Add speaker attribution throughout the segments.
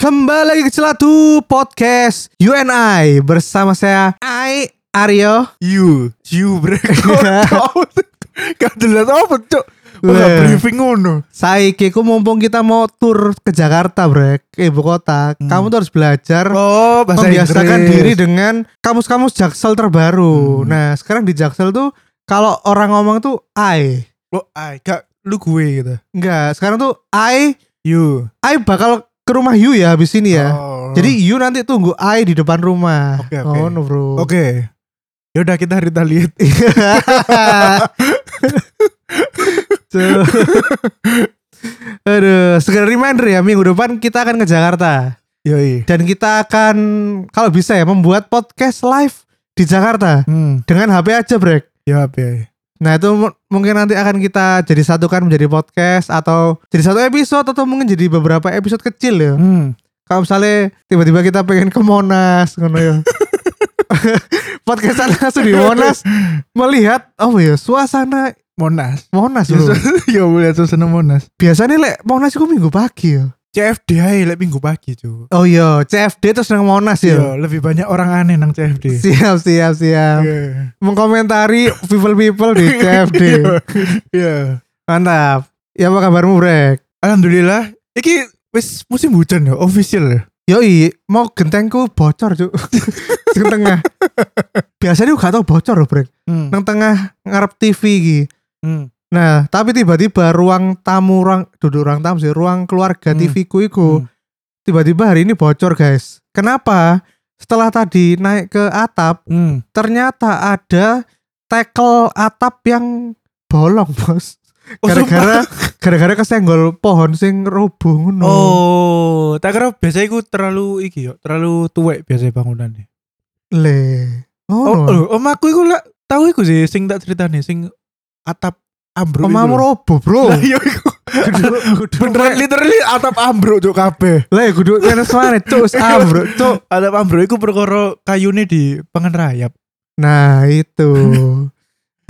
Speaker 1: Kembali lagi ke Celatu Podcast You and I Bersama saya I Aryo
Speaker 2: You, you break out. Gak jelas apa cok. Wah,
Speaker 1: Weh.
Speaker 2: briefing ngono.
Speaker 1: Saiki ku mumpung kita mau tur ke Jakarta brek ke Ibu kota Kamu tuh harus belajar
Speaker 2: Hmm. Oh,
Speaker 1: Membiasakan diri dengan Kamus-kamus Jaksel
Speaker 2: Hmm.
Speaker 1: terbaru Nah sekarang di Jaksel tuh Kalau orang ngomong tuh I
Speaker 2: Lo, ay, gak lu gue gitu.
Speaker 1: Enggak sekarang tuh I
Speaker 2: You.
Speaker 1: I bakal ke rumah you ya habis ini ya
Speaker 2: Oh.
Speaker 1: Jadi you nanti tunggu I di depan rumah
Speaker 2: Oke, oke.
Speaker 1: Ngono, bro
Speaker 2: oke. Yaudah kita retaliate.
Speaker 1: Tuh. Aduh, sekedar reminder ya minggu depan kita akan ke Jakarta
Speaker 2: Yoi.
Speaker 1: dan kita akan kalau bisa ya membuat podcast live di Jakarta
Speaker 2: Hmm,
Speaker 1: dengan HP aja, Brek.
Speaker 2: yap, yoi.
Speaker 1: Nah, itu mu- mungkin nanti akan kita jadi satukan menjadi podcast atau jadi satu episode atau mungkin jadi beberapa episode kecil ya.
Speaker 2: Hmm.
Speaker 1: Kalau misalnya tiba-tiba kita pengen ke Monas ngono ya. Podcastan langsung di Monas melihat oh ya suasana
Speaker 2: Monas.
Speaker 1: Monas
Speaker 2: Ya,
Speaker 1: bro.
Speaker 2: su- Ya boleh suasana Monas.
Speaker 1: biasanya lek Monas itu minggu pagi ya.
Speaker 2: CFD aja lek minggu pagi cuy.
Speaker 1: Oh iya, CFD terus nang Monas ya.
Speaker 2: Yo, lebih banyak orang aneh nang CFD.
Speaker 1: Siap, siap, siap.
Speaker 2: Iya.
Speaker 1: Mengkomentari people-people di CFD.
Speaker 2: Iya. Iya.
Speaker 1: Mantap. Ya apa kabarmu, Brek?
Speaker 2: Alhamdulillah. Iki wis musim hujan ya, official ya.
Speaker 1: Yoi, mau gentengku bocor, Cuk. Sing tengah. Biasanya gak tau bocor loh, Brek.
Speaker 2: Hmm.
Speaker 1: Nang tengah ngarep TV iki.
Speaker 2: Hmm.
Speaker 1: Nah, tapi tiba-tiba ruang tamu, ruang duduk ruang tamu sih, ruang keluarga
Speaker 2: Hmm.
Speaker 1: TV ku iku
Speaker 2: Hmm.
Speaker 1: tiba-tiba hari ini bocor, guys. Kenapa? Setelah tadi naik ke atap,
Speaker 2: Hmm.
Speaker 1: ternyata ada tackle atap yang bolong bos
Speaker 2: Oh,
Speaker 1: gara-gara gara-gara kesenggol pohon sing roboh ngono
Speaker 2: Oh, tak kira biasanya iku terlalu iki yo, terlalu tuwek biasanya bangunannya.
Speaker 1: le
Speaker 2: Oh,
Speaker 1: ngono
Speaker 2: lho, om aku iku lah tahu iku sih sing tak ceritane sing atap ambruk.
Speaker 1: omamu roboh bro
Speaker 2: Lah iya iku. Beneran literally atap ambruk cuk kabeh.
Speaker 1: le kudu kene suara cuk ah bro cuk
Speaker 2: Atap ambruk iku perkara kayune di pengen rayap.
Speaker 1: nah itu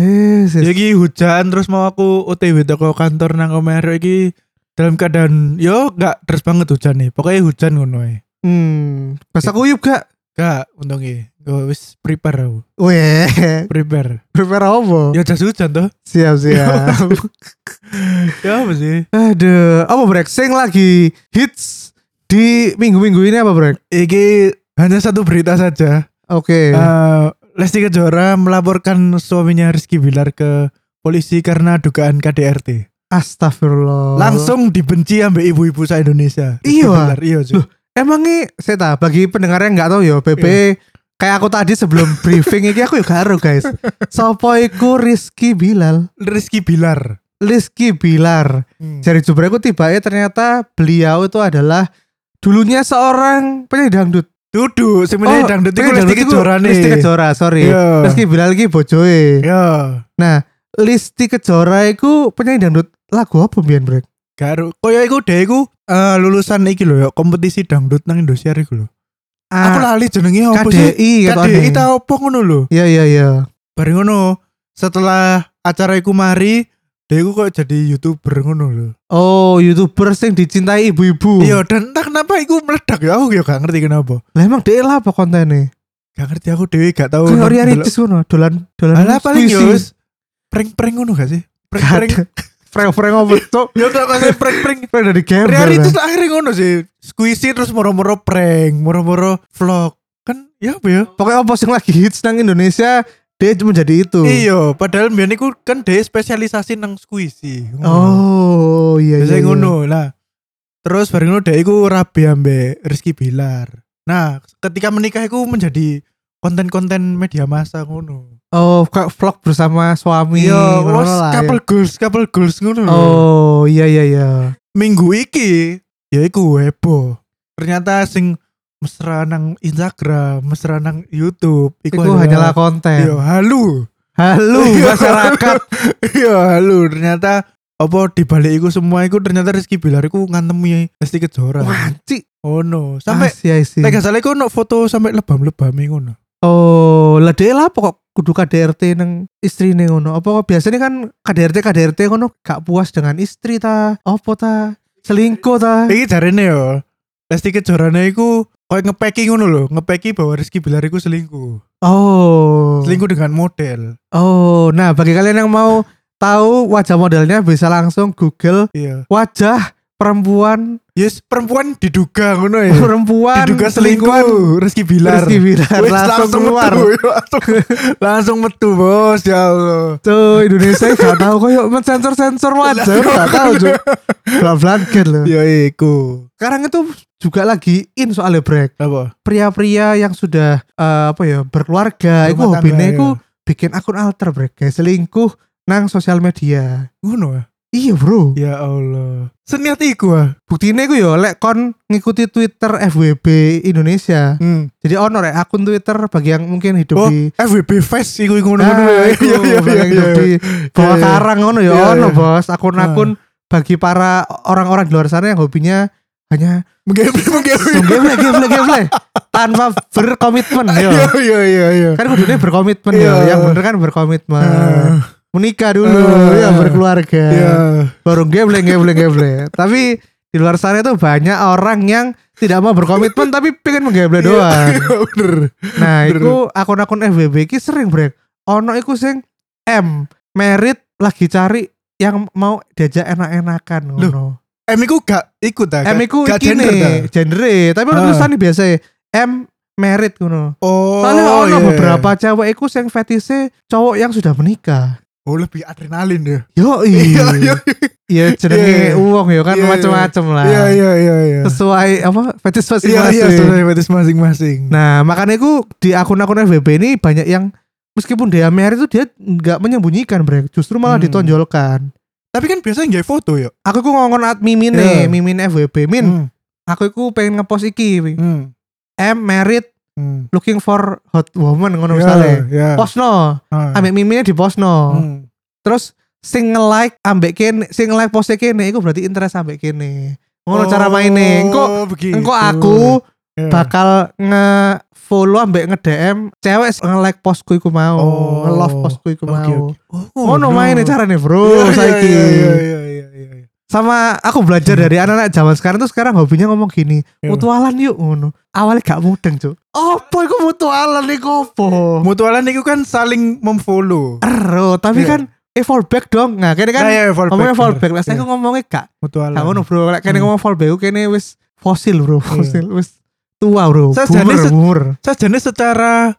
Speaker 1: eh sis.
Speaker 2: Jadi hujan terus mau aku OTW teko kantor nang Omero iki dalam keadaan yo gak terus banget hujan nih. Pokoknya hujan ngono ae.
Speaker 1: hmm bahasa kuyup gak
Speaker 2: Gak untungnya. Gue wis prepare aku.
Speaker 1: weh
Speaker 2: Prepare.
Speaker 1: prepare apa
Speaker 2: Ya jas hujan toh.
Speaker 1: siap siap
Speaker 2: Ya apa sih?
Speaker 1: aduh apa brek sing lagi hits di minggu-minggu ini apa brek
Speaker 2: Iki hanya satu berita saja.
Speaker 1: oke
Speaker 2: Eh, Lesti Kejora melaporkan suaminya Rizky Bilar ke polisi karena dugaan KDRT.
Speaker 1: Astagfirullah.
Speaker 2: Langsung dibenci ambil ibu-ibu sa Indonesia. Rizky
Speaker 1: Oh. Iya.
Speaker 2: Bilar, Iya. cuy.
Speaker 1: Loh, Emangnya saya tahu bagi pendengar yang nggak tahu ya PP
Speaker 2: Iya.
Speaker 1: kayak aku tadi sebelum briefing ini aku ya karo guys. Sopo iku Rizky Bilal.
Speaker 2: Rizky Bilar.
Speaker 1: Rizky Bilar.
Speaker 2: Jadi-
Speaker 1: Dari jubra aku tiba ternyata beliau itu adalah dulunya seorang penyanyi dangdut.
Speaker 2: Duduk, sebenarnya dangdut itu
Speaker 1: penyanyi
Speaker 2: Lesti
Speaker 1: Oh, iku
Speaker 2: Kejora nih.
Speaker 1: Lesti Kejora, sorry.
Speaker 2: Iya.
Speaker 1: Rizky Bilal iki bojoe.
Speaker 2: Iya.
Speaker 1: Nah, Listi Kejora iku penyanyi dangdut lagu apa mbiyen, Brek?
Speaker 2: Garu. Koyo iku deh iku eh, lulusan iki lho ya, kompetisi dangdut nang Indonesia iku lho. Aku
Speaker 1: Ah,
Speaker 2: lali jenenge apa sih?
Speaker 1: KDI
Speaker 2: KDI
Speaker 1: katanya.
Speaker 2: ta opo ngono lho.
Speaker 1: Iya, iya, iya.
Speaker 2: Bareng ngono, setelah acara iku mari, dia iku kok jadi YouTuber ngono lho.
Speaker 1: Oh, youtuber sing dicintai ibu-ibu.
Speaker 2: Iya, dan entah kenapa iku meledak ya aku ya gak ngerti kenapa.
Speaker 1: Lah emang dia lah apa kontennya?
Speaker 2: Gak ngerti aku dhewe gak tahu.
Speaker 1: Oh, Kayak Ria
Speaker 2: nang-
Speaker 1: Ricis kono, dolan dolan.
Speaker 2: Alah paling yo wis prank-prank ngono gak sih? Prank-prank.
Speaker 1: Freng-freng apa cok?
Speaker 2: Yo gak kasih prank-prank.
Speaker 1: Freng dari gembel.
Speaker 2: Ria itu
Speaker 1: lah.
Speaker 2: akhirnya ngono sih. Squishy terus moro-moro prank, moro-moro vlog. Kan ya apa ya?
Speaker 1: Pokoknya apa sing lagi hits nang Indonesia, dia cuma jadi itu.
Speaker 2: Iya, padahal mbiyen iku kan dhewe spesialisasi nang squishy. Ngono.
Speaker 1: Oh, iya
Speaker 2: Biasanya
Speaker 1: iya. iya.
Speaker 2: ngono lah. Terus bareng ngono dek iku rabi ambek Rizky Bilar. Nah, ketika menikah iku menjadi konten-konten media massa ngono.
Speaker 1: Oh, kayak vlog bersama suami.
Speaker 2: Iya,
Speaker 1: ngono-ngono
Speaker 2: terus
Speaker 1: lah,
Speaker 2: couple gitu. goals, couple goals ngono.
Speaker 1: ya.
Speaker 2: lho.
Speaker 1: Oh, iya iya iya.
Speaker 2: Minggu iki ya iku heboh. Ternyata sing mesra nang Instagram, mesra nang YouTube
Speaker 1: Iku hanyalah konten.
Speaker 2: Iya, halu.
Speaker 1: Halo masyarakat.
Speaker 2: Iya, halu. Ternyata apa dibalik iku semua iku ternyata Rizky Bilar iku ngantemi Lesti Kejora.
Speaker 1: Wanci.
Speaker 2: Oh no, sampai
Speaker 1: Ah, iya, iya.
Speaker 2: Lek gak salah iku ono foto sampai lebam-lebam ngono.
Speaker 1: Oh, lah dia lah pokok kudu KDRT neng istri neng ngono. Apa kok biasanya kan KDRT KDRT
Speaker 2: Eh.
Speaker 1: ngono gak puas dengan istri ta, apa ta, selingkuh ta.
Speaker 2: Iki jarene ya, yo. Lesti Kejorana iku koyo ngepeki ngono lho, ngepeki bahwa Rizky Bilar iku selingkuh.
Speaker 1: Oh.
Speaker 2: Selingkuh dengan model.
Speaker 1: Oh, nah bagi kalian yang mau tahu wajah modelnya bisa langsung Google
Speaker 2: Iya.
Speaker 1: wajah perempuan
Speaker 2: Yes, perempuan diduga ngono ya.
Speaker 1: perempuan
Speaker 2: diduga selingkuh Rizky Bilar.
Speaker 1: Rizky Bilar
Speaker 2: Wes,
Speaker 1: langsung keluar.
Speaker 2: metu, ya, langsung, langsung metu bos ya Allah.
Speaker 1: Tuh Indonesia gak tahu kok yuk sensor sensor wajah gak tahu tuh. Belan-belan gen loh.
Speaker 2: Ya iku.
Speaker 1: Sekarang itu juga lagi in soalnya brek.
Speaker 2: Apa?
Speaker 1: Pria-pria yang sudah eh, apa ya berkeluarga, itu
Speaker 2: Rumah
Speaker 1: hobinya
Speaker 2: tangga, iya.
Speaker 1: itu bikin akun alter brek, kayak selingkuh nang sosial media.
Speaker 2: Ngono ya.
Speaker 1: Iya bro.
Speaker 2: Ya Allah. Seniat iku ah.
Speaker 1: Buktinya gue yo lek kon ngikuti Twitter FWB Indonesia.
Speaker 2: Hmm.
Speaker 1: Jadi honor ya akun Twitter bagi yang mungkin hidup
Speaker 2: Oh,
Speaker 1: di
Speaker 2: FWB Fest iku iku ngono-ngono.
Speaker 1: Nah,
Speaker 2: ya.
Speaker 1: iku,
Speaker 2: Iya iya
Speaker 1: bagi
Speaker 2: iya.
Speaker 1: yang hidup di bawah
Speaker 2: Iya, iya.
Speaker 1: karang ngono ya
Speaker 2: Iya,
Speaker 1: ono
Speaker 2: iya.
Speaker 1: bos akun-akun bagi para orang-orang di luar sana yang hobinya hanya
Speaker 2: Menggembleng menggembleng.
Speaker 1: gameplay gameplay gameplay tanpa berkomitmen yo.
Speaker 2: Iya iya iya iya.
Speaker 1: Kan kudunya berkomitmen
Speaker 2: Iya.
Speaker 1: ya, yang bener kan berkomitmen. Menikah dulu
Speaker 2: Eh.
Speaker 1: ya berkeluarga.
Speaker 2: Ah, Iya.
Speaker 1: Baru gameplay gameplay gameplay. Tapi di luar sana itu banyak orang yang tidak mau berkomitmen tapi pengen menggameplay doang.
Speaker 2: Iya, Bener.
Speaker 1: Nah,
Speaker 2: Bener.
Speaker 1: iku akun-akun FBB iki sering brek. Ono iku sing M merit lagi cari yang mau diajak enak-enakan
Speaker 2: Loh,
Speaker 1: ngono.
Speaker 2: M iku gak ikut ah.
Speaker 1: M
Speaker 2: gak-
Speaker 1: iku
Speaker 2: gak
Speaker 1: iki
Speaker 2: gender, dah.
Speaker 1: nih, genre, tapi
Speaker 2: Ah.
Speaker 1: ono tulisan biasa M merit ngono.
Speaker 2: Oh.
Speaker 1: Soalnya ono
Speaker 2: iya.
Speaker 1: beberapa cewek iku sing fetise cowok yang sudah menikah.
Speaker 2: Oh lebih adrenalin deh.
Speaker 1: Yo
Speaker 2: Iya iya
Speaker 1: iya. Iya jenenge
Speaker 2: Iya.
Speaker 1: uang yo kan
Speaker 2: Iya, iya.
Speaker 1: macem-macem lah.
Speaker 2: iya iya iya. iya.
Speaker 1: Sesuai apa fetis
Speaker 2: Iya iya
Speaker 1: masing-masing.
Speaker 2: sesuai batas masing-masing.
Speaker 1: Nah, makanya iku di akun-akun FBB ini banyak yang meskipun dia merit itu dia nggak menyembunyikan, Brek. Justru malah
Speaker 2: Hmm.
Speaker 1: ditonjolkan.
Speaker 2: Tapi kan biasanya nggak foto ya.
Speaker 1: Aku iku ngomongin at Mimin nih,
Speaker 2: Iya.
Speaker 1: Mimin FBB. Min,
Speaker 2: Hmm.
Speaker 1: aku iku pengen ngepost iki. Wi.
Speaker 2: Hmm.
Speaker 1: M merit
Speaker 2: Hmm.
Speaker 1: looking for hot woman ngono
Speaker 2: Ya,
Speaker 1: misalnya.
Speaker 2: ya.
Speaker 1: Posno,
Speaker 2: Ah.
Speaker 1: ambek miminnya di posno.
Speaker 2: Hmm.
Speaker 1: Terus sing nge-like ambek kene, sing nge-like postnya kene iku berarti interest ambek kene. Ngono
Speaker 2: Oh, Gitu.
Speaker 1: cara mainnya. Engko
Speaker 2: begitu.
Speaker 1: engko aku
Speaker 2: Ya.
Speaker 1: bakal nge-follow ambek nge-DM cewek sing nge-like postku iku mau,
Speaker 2: Oh.
Speaker 1: nge-love postku iku
Speaker 2: Oke,
Speaker 1: mau.
Speaker 2: Oh,
Speaker 1: Ngono
Speaker 2: no.
Speaker 1: maine carane,
Speaker 2: Iya,
Speaker 1: Bro,
Speaker 2: iya,
Speaker 1: saiki.
Speaker 2: Iya iya iya iya, iya, iya.
Speaker 1: Sama aku belajar dari anak-anak zaman sekarang tuh sekarang hobinya ngomong gini,
Speaker 2: Iya.
Speaker 1: mutualan yuk ngono. Awalnya gak mudeng, Cuk. Opo iku mutualan iku opo?
Speaker 2: Mutualan itu kan saling memfollow.
Speaker 1: Ero, tapi
Speaker 2: Iya.
Speaker 1: kan eh fallback dong. Nah, kene kan
Speaker 2: Nah, iya, fallback,
Speaker 1: ngomongnya
Speaker 2: bener.
Speaker 1: fallback. Iya. Lah saya
Speaker 2: Iya,
Speaker 1: ngomongnya gak
Speaker 2: mutualan.
Speaker 1: gak ngono, Bro. Lek kene
Speaker 2: Hmm.
Speaker 1: ngomong fallback kene wis fosil, Bro. Fosil wis tua, Bro.
Speaker 2: Sajane
Speaker 1: Boomer,
Speaker 2: se-
Speaker 1: boomer.
Speaker 2: Sajane secara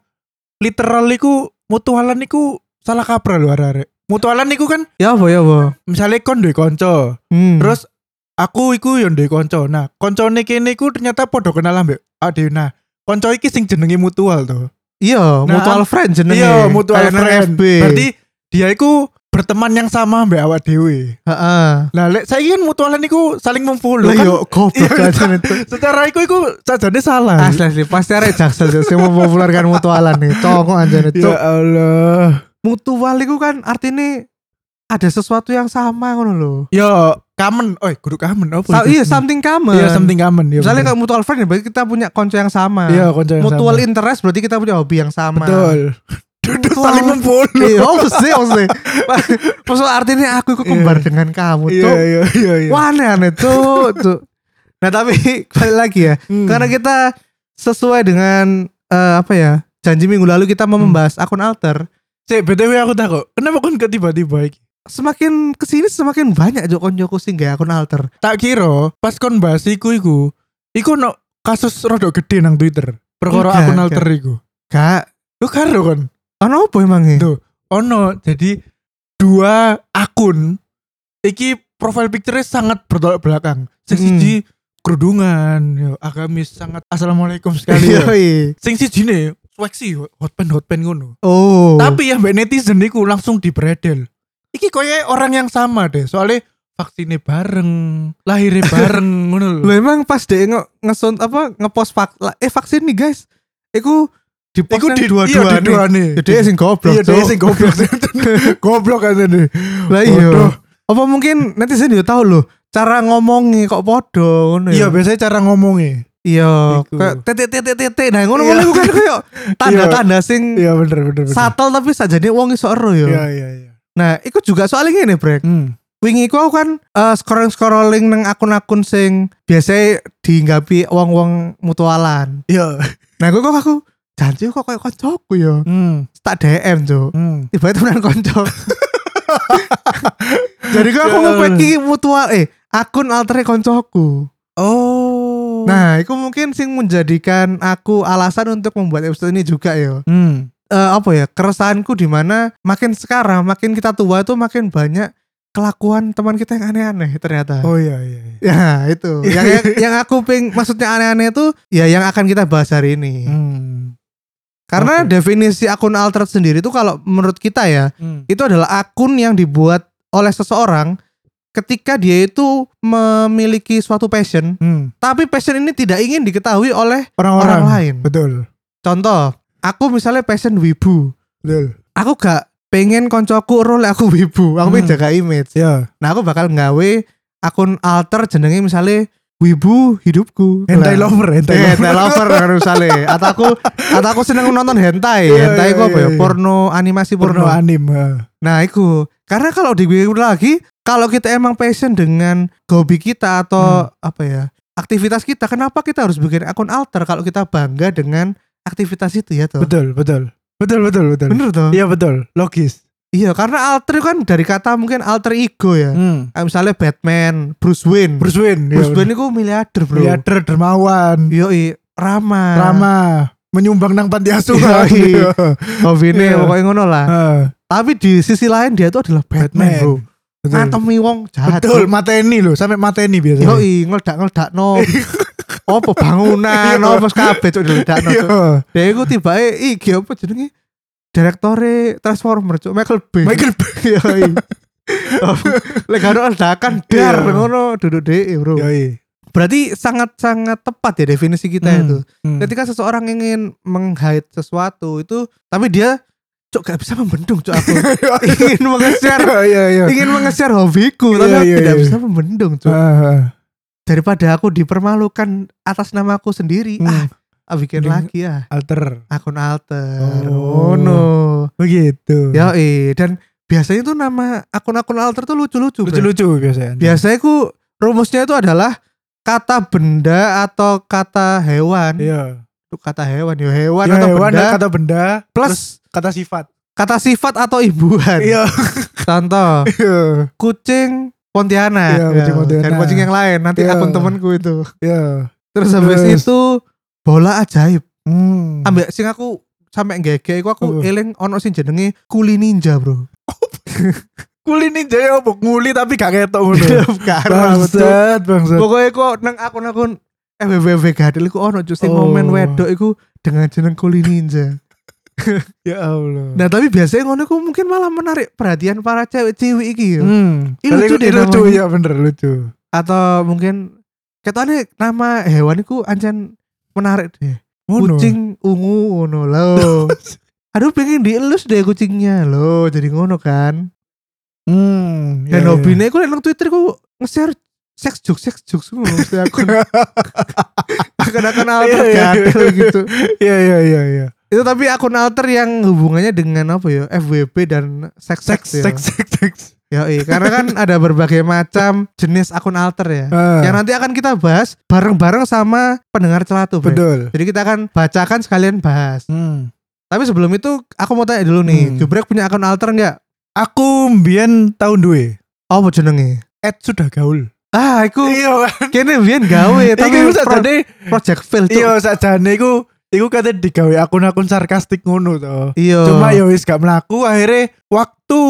Speaker 2: literal iku mutualan iku salah kaprah lho arek-arek. Mutualan iku kan
Speaker 1: Ya apa ya apa.
Speaker 2: misalnya kon duwe kanca,
Speaker 1: Hmm.
Speaker 2: terus aku iku yo duwe kanca. Nah, koncone kene iku ternyata podo kenal ambek ade. Nah, kanca iki sing jenenge mutual to.
Speaker 1: Iya,
Speaker 2: Nah,
Speaker 1: mutual friend jenenge.
Speaker 2: Iya, mutual
Speaker 1: Kayak nang
Speaker 2: friend.
Speaker 1: FB.
Speaker 2: Berarti dia iku berteman yang sama mbak awak dewe.
Speaker 1: heeh.
Speaker 2: Lah lek saiki kan mutualan iku saling memfollow
Speaker 1: Lah
Speaker 2: kan.
Speaker 1: yo goblok
Speaker 2: Iya,
Speaker 1: aja itu.
Speaker 2: Secara iku iku sajane salah.
Speaker 1: Asli asli pasti arek jaksel Cuk, sing mempopulerkan mutualan nih. Congok aja nih.
Speaker 2: Iya.
Speaker 1: Cuk.
Speaker 2: Ya Allah.
Speaker 1: Iya. Mutual itu kan artinya ada sesuatu yang sama ngono lho.
Speaker 2: Yo, common. Iya, Oi, guru common apa?
Speaker 1: Sa-
Speaker 2: itu?
Speaker 1: iya, something common.
Speaker 2: Iya, something common. Iya,
Speaker 1: Misalnya
Speaker 2: bener.
Speaker 1: kalau mutual friend ya berarti kita punya konco yang sama.
Speaker 2: Iya, konco yang
Speaker 1: mutual
Speaker 2: sama.
Speaker 1: interest berarti kita punya hobi yang sama.
Speaker 2: Betul. Duduk
Speaker 1: Mutual.
Speaker 2: saling memfollow.
Speaker 1: Iya, oh sih, oh sih. Maksud artinya aku ikut kembar
Speaker 2: Iya.
Speaker 1: dengan kamu,
Speaker 2: Iya,
Speaker 1: Cuk.
Speaker 2: iya, iya, iya.
Speaker 1: Wah aneh-aneh tuh, tuh. Nah tapi balik lagi ya,
Speaker 2: Hmm.
Speaker 1: karena kita sesuai dengan eh, apa ya janji minggu lalu kita mau
Speaker 2: Hmm.
Speaker 1: membahas akun alter.
Speaker 2: Cek, BTW aku takut. Kenapa kon kok tiba-tiba iki?
Speaker 1: Semakin kesini semakin banyak jokon-joko sih nggak akun alter.
Speaker 2: Tak kira pas kon bahas iku iku, iku no kasus rodok gede nang Twitter. Perkara
Speaker 1: Enggak,
Speaker 2: akun
Speaker 1: enggak.
Speaker 2: alter iku.
Speaker 1: Gak,
Speaker 2: Lu karo kon.
Speaker 1: ono apa emangnya?
Speaker 2: Tuh. Ono, jadi dua akun iki profile picture sangat bertolak belakang. Sing
Speaker 1: Mm.
Speaker 2: siji kerudungan, yo, agamis sangat assalamualaikum sekali.
Speaker 1: Iya,
Speaker 2: yo.
Speaker 1: Yoi.
Speaker 2: Sing siji ne sweksi hotpen hotpen ngono.
Speaker 1: Oh.
Speaker 2: Tapi yang mbak netizen niku langsung dibredel. Iki koyo orang yang sama deh, soalnya vaksinnya bareng, lahirnya bareng ngono lho.
Speaker 1: Lu emang pas deh nge ngesun apa ngepost vak la- eh vaksin nih guys. Iku di
Speaker 2: Iku
Speaker 1: postnya
Speaker 2: di
Speaker 1: dua-dua
Speaker 2: iya, di
Speaker 1: nih.
Speaker 2: duane.
Speaker 1: Ya, dia sing goblok.
Speaker 2: Iya, dia
Speaker 1: Cuk.
Speaker 2: sing goblok. Goblok kan ini.
Speaker 1: Lah iya.
Speaker 2: Bodoh.
Speaker 1: Apa mungkin netizen juga tahu loh cara ngomongnya kok podo ngono
Speaker 2: Iya,
Speaker 1: ya.
Speaker 2: biasanya cara ngomongnya.
Speaker 1: Iya,
Speaker 2: Iku.
Speaker 1: kayak titik titik titik titik. Nah, ngono
Speaker 2: Iya.
Speaker 1: ngono kan kayak tanda-tanda sing
Speaker 2: Iya, bener bener. bener.
Speaker 1: satel tapi sajane wong iso ero
Speaker 2: Iya
Speaker 1: ya.
Speaker 2: iya iya.
Speaker 1: Nah, iku juga soalnya ngene, Brek.
Speaker 2: Hmm.
Speaker 1: wingi ku aku kan scrolling scrolling neng akun-akun sing biasa dihinggapi wong-wong mutualan.
Speaker 2: Iya.
Speaker 1: Nah, aku kok aku janji kok kayak kancaku ya.
Speaker 2: Hmm.
Speaker 1: Tak DM, Cuk.
Speaker 2: Hmm.
Speaker 1: tiba-tiba temenan konco jadi gue aku
Speaker 2: Ya
Speaker 1: mau
Speaker 2: Allah.
Speaker 1: peki mutual eh akun alternya koncoku
Speaker 2: Oh.
Speaker 1: nah itu mungkin sing menjadikan aku alasan untuk membuat episode ini juga ya
Speaker 2: Hmm.
Speaker 1: Eh, apa ya keresahanku di mana makin sekarang makin kita tua tuh makin banyak kelakuan teman kita yang aneh-aneh ternyata
Speaker 2: Oh iya iya. iya.
Speaker 1: ya itu yang yang, yang aku ping maksudnya aneh-aneh itu ya yang akan kita bahas hari ini
Speaker 2: Hmm.
Speaker 1: karena
Speaker 2: Oke.
Speaker 1: definisi akun alter sendiri tuh kalau menurut kita ya
Speaker 2: Hmm.
Speaker 1: itu adalah akun yang dibuat oleh seseorang ketika dia itu memiliki suatu passion,
Speaker 2: Hmm.
Speaker 1: tapi passion ini tidak ingin diketahui oleh
Speaker 2: Orang-orang.
Speaker 1: orang lain.
Speaker 2: Betul.
Speaker 1: Contoh, aku misalnya passion wibu,
Speaker 2: Betul.
Speaker 1: aku gak pengen koncoku role aku wibu, aku pengen
Speaker 2: Hmm.
Speaker 1: jaga image.
Speaker 2: Ya.
Speaker 1: Nah, aku bakal nggawe akun alter jenenge misalnya wibu hidupku.
Speaker 2: Hentai
Speaker 1: Lah.
Speaker 2: lover, Iya, hentai
Speaker 1: Eh,
Speaker 2: lover.
Speaker 1: hentai lover kan misalnya atau aku atau aku seneng nonton hentai
Speaker 2: Iya,
Speaker 1: hentai
Speaker 2: iya,
Speaker 1: kok apa
Speaker 2: iya,
Speaker 1: ya
Speaker 2: iya.
Speaker 1: porno animasi
Speaker 2: Porno
Speaker 1: porno
Speaker 2: anim. eh.
Speaker 1: Nah, itu karena kalau dipikir lagi, kalau kita emang passion dengan hobi kita
Speaker 2: Hmm.
Speaker 1: atau apa ya aktivitas kita, kenapa kita harus bikin akun alter kalau kita bangga dengan aktivitas itu ya toh?
Speaker 2: Betul, betul. Betul, betul, betul.
Speaker 1: Bener toh?
Speaker 2: Iya, betul. Logis.
Speaker 1: Iya, karena alter kan dari kata mungkin alter ego ya.
Speaker 2: Hmm.
Speaker 1: Kayak misalnya Batman, Bruce Wayne.
Speaker 2: Bruce Wayne.
Speaker 1: Bruce
Speaker 2: iya,
Speaker 1: Wayne itu miliarder bro. Iya.
Speaker 2: miliarder dermawan.
Speaker 1: Yoi, ramah.
Speaker 2: Rama menyumbang nang panti asuhan.
Speaker 1: Iya, Hobi
Speaker 2: Iya.
Speaker 1: pokoknya ngono lah.
Speaker 2: Heeh.
Speaker 1: Tapi di sisi lain dia itu adalah Batman,
Speaker 2: Batman.
Speaker 1: bro.
Speaker 2: Betul.
Speaker 1: Ngantemi wong jahat.
Speaker 2: Betul,
Speaker 1: bro.
Speaker 2: mateni loh, sampai mateni
Speaker 1: Yo
Speaker 2: biasanya.
Speaker 1: i ngeledak ngeledak no. Apa bangunan
Speaker 2: Iya.
Speaker 1: apa kabeh cuk diledak no.
Speaker 2: Iya.
Speaker 1: Dia iku tibae iki apa jenenge? Direktore Transformer cuk Michael Bay.
Speaker 2: Michael Bay.
Speaker 1: Yo i. Lek karo ledakan dar
Speaker 2: Iya.
Speaker 1: ngono duduk dhewe, Bro.
Speaker 2: Yoi.
Speaker 1: Berarti sangat-sangat tepat ya definisi kita
Speaker 2: Hmm.
Speaker 1: itu.
Speaker 2: Hmm.
Speaker 1: Ketika seseorang ingin menghait sesuatu itu tapi dia cuk gak bisa membendung cuk aku. ingin meng-share
Speaker 2: Iya, iya.
Speaker 1: ingin meng-share hobiku tapi
Speaker 2: Iya,
Speaker 1: aku
Speaker 2: iya,
Speaker 1: tidak
Speaker 2: iya.
Speaker 1: bisa membendung cuk.
Speaker 2: Heeh.
Speaker 1: daripada aku dipermalukan atas nama aku sendiri
Speaker 2: Hmm.
Speaker 1: ah ah, bikin
Speaker 2: Mending-
Speaker 1: lagi ah
Speaker 2: Alter.
Speaker 1: akun alter
Speaker 2: Oh.
Speaker 1: oh, no
Speaker 2: Begitu.
Speaker 1: ya dan biasanya tuh nama akun-akun alter tuh lucu-lucu Bray.
Speaker 2: Lucu-lucu biasanya.
Speaker 1: biasanya ku rumusnya itu adalah kata benda atau kata hewan
Speaker 2: Iya.
Speaker 1: Tuh, kata hewan ya hewan
Speaker 2: Ya,
Speaker 1: atau
Speaker 2: hewan
Speaker 1: benda
Speaker 2: kata benda
Speaker 1: plus
Speaker 2: kata sifat.
Speaker 1: kata sifat atau imbuhan
Speaker 2: Iya.
Speaker 1: contoh
Speaker 2: Iya.
Speaker 1: kucing Pontianak,
Speaker 2: Iya,
Speaker 1: Ya,
Speaker 2: kucing Pontianak.
Speaker 1: dan kucing yang lain nanti
Speaker 2: Iya.
Speaker 1: akun temanku itu
Speaker 2: Iya.
Speaker 1: terus habis
Speaker 2: Terus.
Speaker 1: itu bola ajaib
Speaker 2: Hmm.
Speaker 1: ambek sing aku sampe ngege iku aku
Speaker 2: Apa?
Speaker 1: eling ono sing jenenge kuli ninja, Bro.
Speaker 2: kuli ninja ya apa? nguli tapi gak ketok ngono.
Speaker 1: Karena betul.
Speaker 2: bangsat, bangsat.
Speaker 1: Pokoke kok nang akun-akun FWW Gadel iku ono justru
Speaker 2: Oh.
Speaker 1: momen wedok iku dengan jeneng kuli ninja.
Speaker 2: Ya Allah.
Speaker 1: Nah, tapi biasanya ngono iku mungkin malah menarik perhatian para cewek-cewek iki ya.
Speaker 2: Hmm.
Speaker 1: Ih,
Speaker 2: Tapi
Speaker 1: lucu deh
Speaker 2: lucu
Speaker 1: namanya.
Speaker 2: ya bener lucu.
Speaker 1: Atau mungkin ketone nama hewan iku ancen menarik deh.
Speaker 2: Ngono.
Speaker 1: Kucing ungu ngono loh. Aduh pengen dielus deh kucingnya loh jadi ngono kan.
Speaker 2: Hmm.
Speaker 1: Dan
Speaker 2: iya,
Speaker 1: hobine aku nang Twitter ku nge-share sex joke sex jokes ngono mesti aku akan akan alter
Speaker 2: Iya, iya,
Speaker 1: gatel
Speaker 2: iya.
Speaker 1: gitu.
Speaker 2: Iya iya iya iya.
Speaker 1: Itu tapi akun alter yang hubungannya dengan apa ya? FWB dan sex sex.
Speaker 2: Seks
Speaker 1: ya.
Speaker 2: seks seks seks.
Speaker 1: Yoi, karena kan ada berbagai macam jenis akun alter ya.
Speaker 2: Ah,
Speaker 1: Yang nanti akan kita bahas bareng-bareng sama pendengar celatu, Bre.
Speaker 2: betul.
Speaker 1: Jadi kita akan bacakan sekalian bahas.
Speaker 2: ya? Hmm.
Speaker 1: Tapi sebelum itu aku mau tanya dulu nih,
Speaker 2: Hmm.
Speaker 1: Jubrek punya akun alter nggak?
Speaker 2: Aku mbien tahun duwe.
Speaker 1: Oh, apa jenenge?
Speaker 2: Ed sudah gaul.
Speaker 1: Ah, aku
Speaker 2: Iya.
Speaker 1: kene biyen gawe tapi
Speaker 2: Iki
Speaker 1: pro-
Speaker 2: sajane
Speaker 1: project fail Cuk.
Speaker 2: iya sajane iku iku kate digawe akun-akun sarkastik ngono to.
Speaker 1: Iya.
Speaker 2: Cuma ya wis gak mlaku akhirnya waktu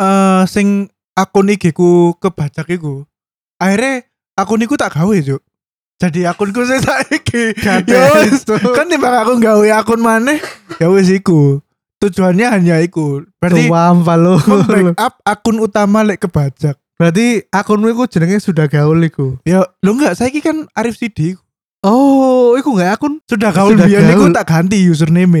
Speaker 2: eh sing akun IG ku kebajak iku. Akhirnya akun iku tak gawe, Cuk. Jadi akunku sing saiki. Ya wis.
Speaker 1: kan
Speaker 2: Kan timbang aku gawe akun maneh, ya wis iku. Tujuannya hanya iku. Berarti
Speaker 1: lo.
Speaker 2: membackup akun utama lek kebajak.
Speaker 1: Berarti akunmu iku jenenge sudah gaul iku.
Speaker 2: Ya, lo enggak saiki kan Arif Sidi
Speaker 1: Oh, iku enggak akun.
Speaker 2: sudah gaul
Speaker 1: Sudah
Speaker 2: biyen iku
Speaker 1: gaul.
Speaker 2: tak ganti username.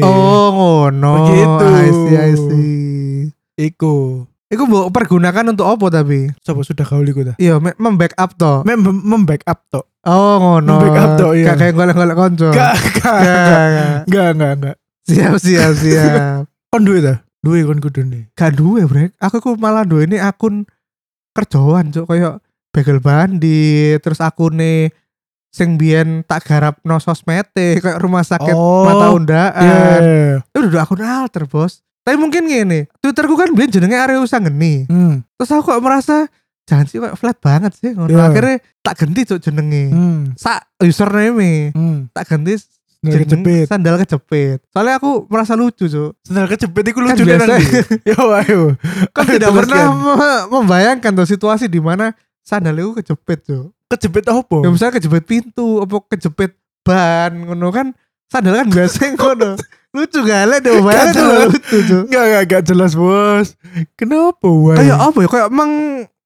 Speaker 1: Oh, gitu. ngono.
Speaker 2: Begitu.
Speaker 1: I see, I see.
Speaker 2: Iku.
Speaker 1: Iku mbok pergunakan untuk opo tapi?
Speaker 2: Sopo sudah gaul iku ta?
Speaker 1: Iya, me- membackup to.
Speaker 2: Mem membackup tok.
Speaker 1: Oh, ngono.
Speaker 2: Membackup to, iya.
Speaker 1: Gak kayak golek-golek konco.
Speaker 2: Enggak, enggak,
Speaker 1: Oh. Gak,
Speaker 2: enggak.
Speaker 1: gak.
Speaker 2: Enggak, enggak, enggak.
Speaker 1: Siap, siap, siap.
Speaker 2: Kon duwe ta? Duwe kon kudu nih.
Speaker 1: gak duwe, Brek. Aku ku malah duwe ini akun kerjaan cuk koyo bagel bandit terus akune sing biyen tak garap no sosmete kayak rumah sakit
Speaker 2: Oh,
Speaker 1: mata undaan
Speaker 2: Iya, iya, iya.
Speaker 1: itu Eh, udah akun alter bos tapi mungkin gini twitterku kan biyen jenenge Arya Usangeni
Speaker 2: Hmm,
Speaker 1: terus aku kok merasa jangan sih kok flat banget sih ngono.
Speaker 2: Iya.
Speaker 1: akhirnya tak ganti cuk jenenge
Speaker 2: hmm,
Speaker 1: sak username
Speaker 2: hmm.
Speaker 1: tak ganti
Speaker 2: Sandal kejepit.
Speaker 1: sandal kejepit soalnya aku merasa lucu cuk
Speaker 2: Sandal kejepit itu
Speaker 1: Kan
Speaker 2: lucu deh
Speaker 1: biasa.
Speaker 2: nanti. Yo ayo.
Speaker 1: kan
Speaker 2: Ayo,
Speaker 1: tidak pernah
Speaker 2: teruskan.
Speaker 1: me- membayangkan tuh situasi di mana sandal itu kejepit cuk
Speaker 2: kejepit apa?
Speaker 1: ya misalnya kejepit pintu apa kejepit ban ngono kan sandal kan biasa ngono lucu gale deh bayangin
Speaker 2: Kacau.
Speaker 1: tuh lucu cuk
Speaker 2: Enggak enggak enggak jelas, Bos. Kenapa, Wai?
Speaker 1: kayak apa ya kayak meng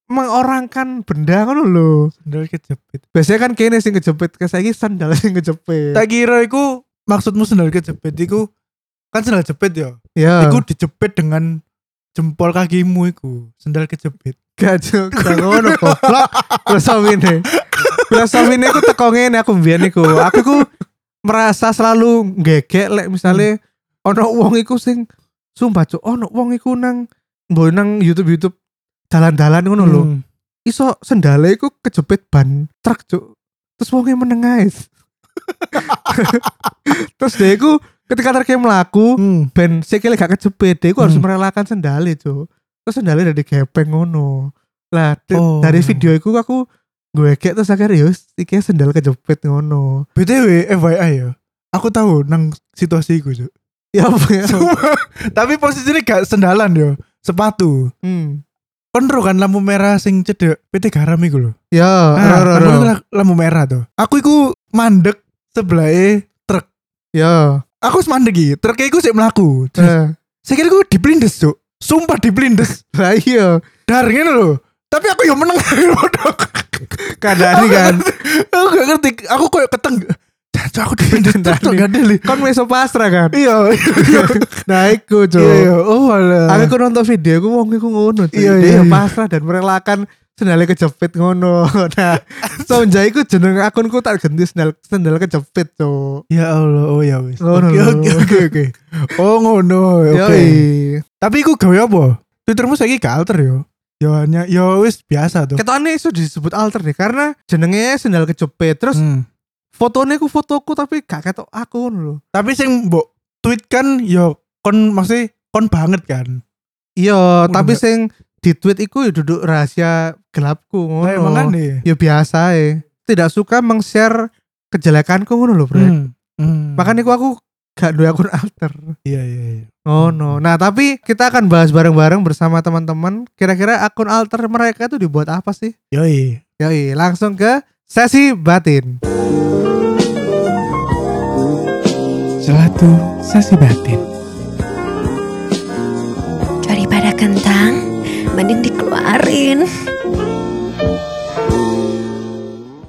Speaker 1: mengorangkan benda kan lho
Speaker 2: sandal kejepit.
Speaker 1: biasanya kan kene sing kejepit kayak saiki sandal sing kejepit
Speaker 2: Tak kira iku maksudmu sandal kejepit iku kan sandal jepit ya.
Speaker 1: ya
Speaker 2: Iku dijepit dengan jempol kakimu iku, sandal kejepit.
Speaker 1: gajuk gak ngono goblok filosofine filosofine aku teko ngene aku mbiyen iku aku ku merasa selalu gegek lek misale ono wong iku sing sumpah cuk ono wong iku nang mbo nang YouTube-YouTube dalan-dalan ngono lho
Speaker 2: Hmm.
Speaker 1: iso sendale iku kejepit ban truk cuk terus wonge meneng ae terus dia iku ketika truknya melaku
Speaker 2: Hmm.
Speaker 1: ben sikile gak kejepit dia iku harus
Speaker 2: Hmm.
Speaker 1: merelakan sendale cuk terus sendale dari gepeng ngono lah di-
Speaker 2: Oh.
Speaker 1: dari video iku aku gue kayak terus akhirnya yus iki sendal kejepit ngono
Speaker 2: BTW FYI ya. Aku tahu nang situasi iku, Cuk.
Speaker 1: ya apa ya
Speaker 2: Sumpah. Tapi posisinya gak sendalan yo, sepatu.
Speaker 1: hmm.
Speaker 2: Kon ro kan lampu merah sing cedek PT garam iku lho.
Speaker 1: ya ro,
Speaker 2: Nah,
Speaker 1: ro,
Speaker 2: aku
Speaker 1: ro.
Speaker 2: iku la- lampu merah tuh. Aku iku mandek sebelahe truk.
Speaker 1: ya
Speaker 2: Aku wis mandek iki, truk iku sik mlaku. Terus
Speaker 1: eh.
Speaker 2: Saya kira aku diplindes, Cuk. Sumpah diplindes.
Speaker 1: lah iya
Speaker 2: Dar ngene lho. Tapi aku yo meneng bodoh.
Speaker 1: kadani kan
Speaker 2: Aku gak ngerti. Aku koyo keteng. Jancuk aku diplindes truk
Speaker 1: Kendali.
Speaker 2: gak deli.
Speaker 1: kon meso pasrah kan
Speaker 2: Iya. iya,
Speaker 1: nah iku cuk
Speaker 2: Iya, oh alah.
Speaker 1: Aku ku nonton video aku wong iku ngono. cuy.
Speaker 2: Iya,
Speaker 1: Dia
Speaker 2: iya,
Speaker 1: ya
Speaker 2: iya.
Speaker 1: pasrah dan merelakan sendalnya kejepit ngono. Nah, sonjai ku jeneng akunku tak ganti sendal sendal kejepit tuh.
Speaker 2: Ya Allah, oh ya wis.
Speaker 1: Ngono
Speaker 2: Oke
Speaker 1: lho.
Speaker 2: oke oke oke. Oh ngono, oke.
Speaker 1: Yoi.
Speaker 2: Tapi iku gawe apa? Twittermu saiki gak alter yo. Yo hanya yo wis biasa tuh.
Speaker 1: Ketone itu disebut alter deh karena jenenge sendal kejepit. Terus
Speaker 2: Hmm.
Speaker 1: fotonya ku fotoku tapi gak ketok aku ngono lho.
Speaker 2: Tapi sing mbok tweet kan yo kon maksudnya kon banget kan.
Speaker 1: Iya,
Speaker 2: Ngono
Speaker 1: tapi
Speaker 2: nggak?
Speaker 1: sing di tweet iku ya duduk rahasia gelapku ngono.
Speaker 2: Lah emang kan nih.
Speaker 1: Ya biasa ya. Tidak suka meng-share kejelekanku ngono lho, Bro.
Speaker 2: Hmm.
Speaker 1: Makanya aku, aku gak duwe akun alter.
Speaker 2: iya iya iya.
Speaker 1: Oh no. Nah tapi kita akan bahas bareng-bareng bersama teman-teman. Kira-kira akun alter mereka itu dibuat apa sih?
Speaker 2: Yoi.
Speaker 1: Yoi, langsung ke sesi batin.
Speaker 2: Selatu sesi batin.
Speaker 3: Daripada kentang, mending dikeluarin.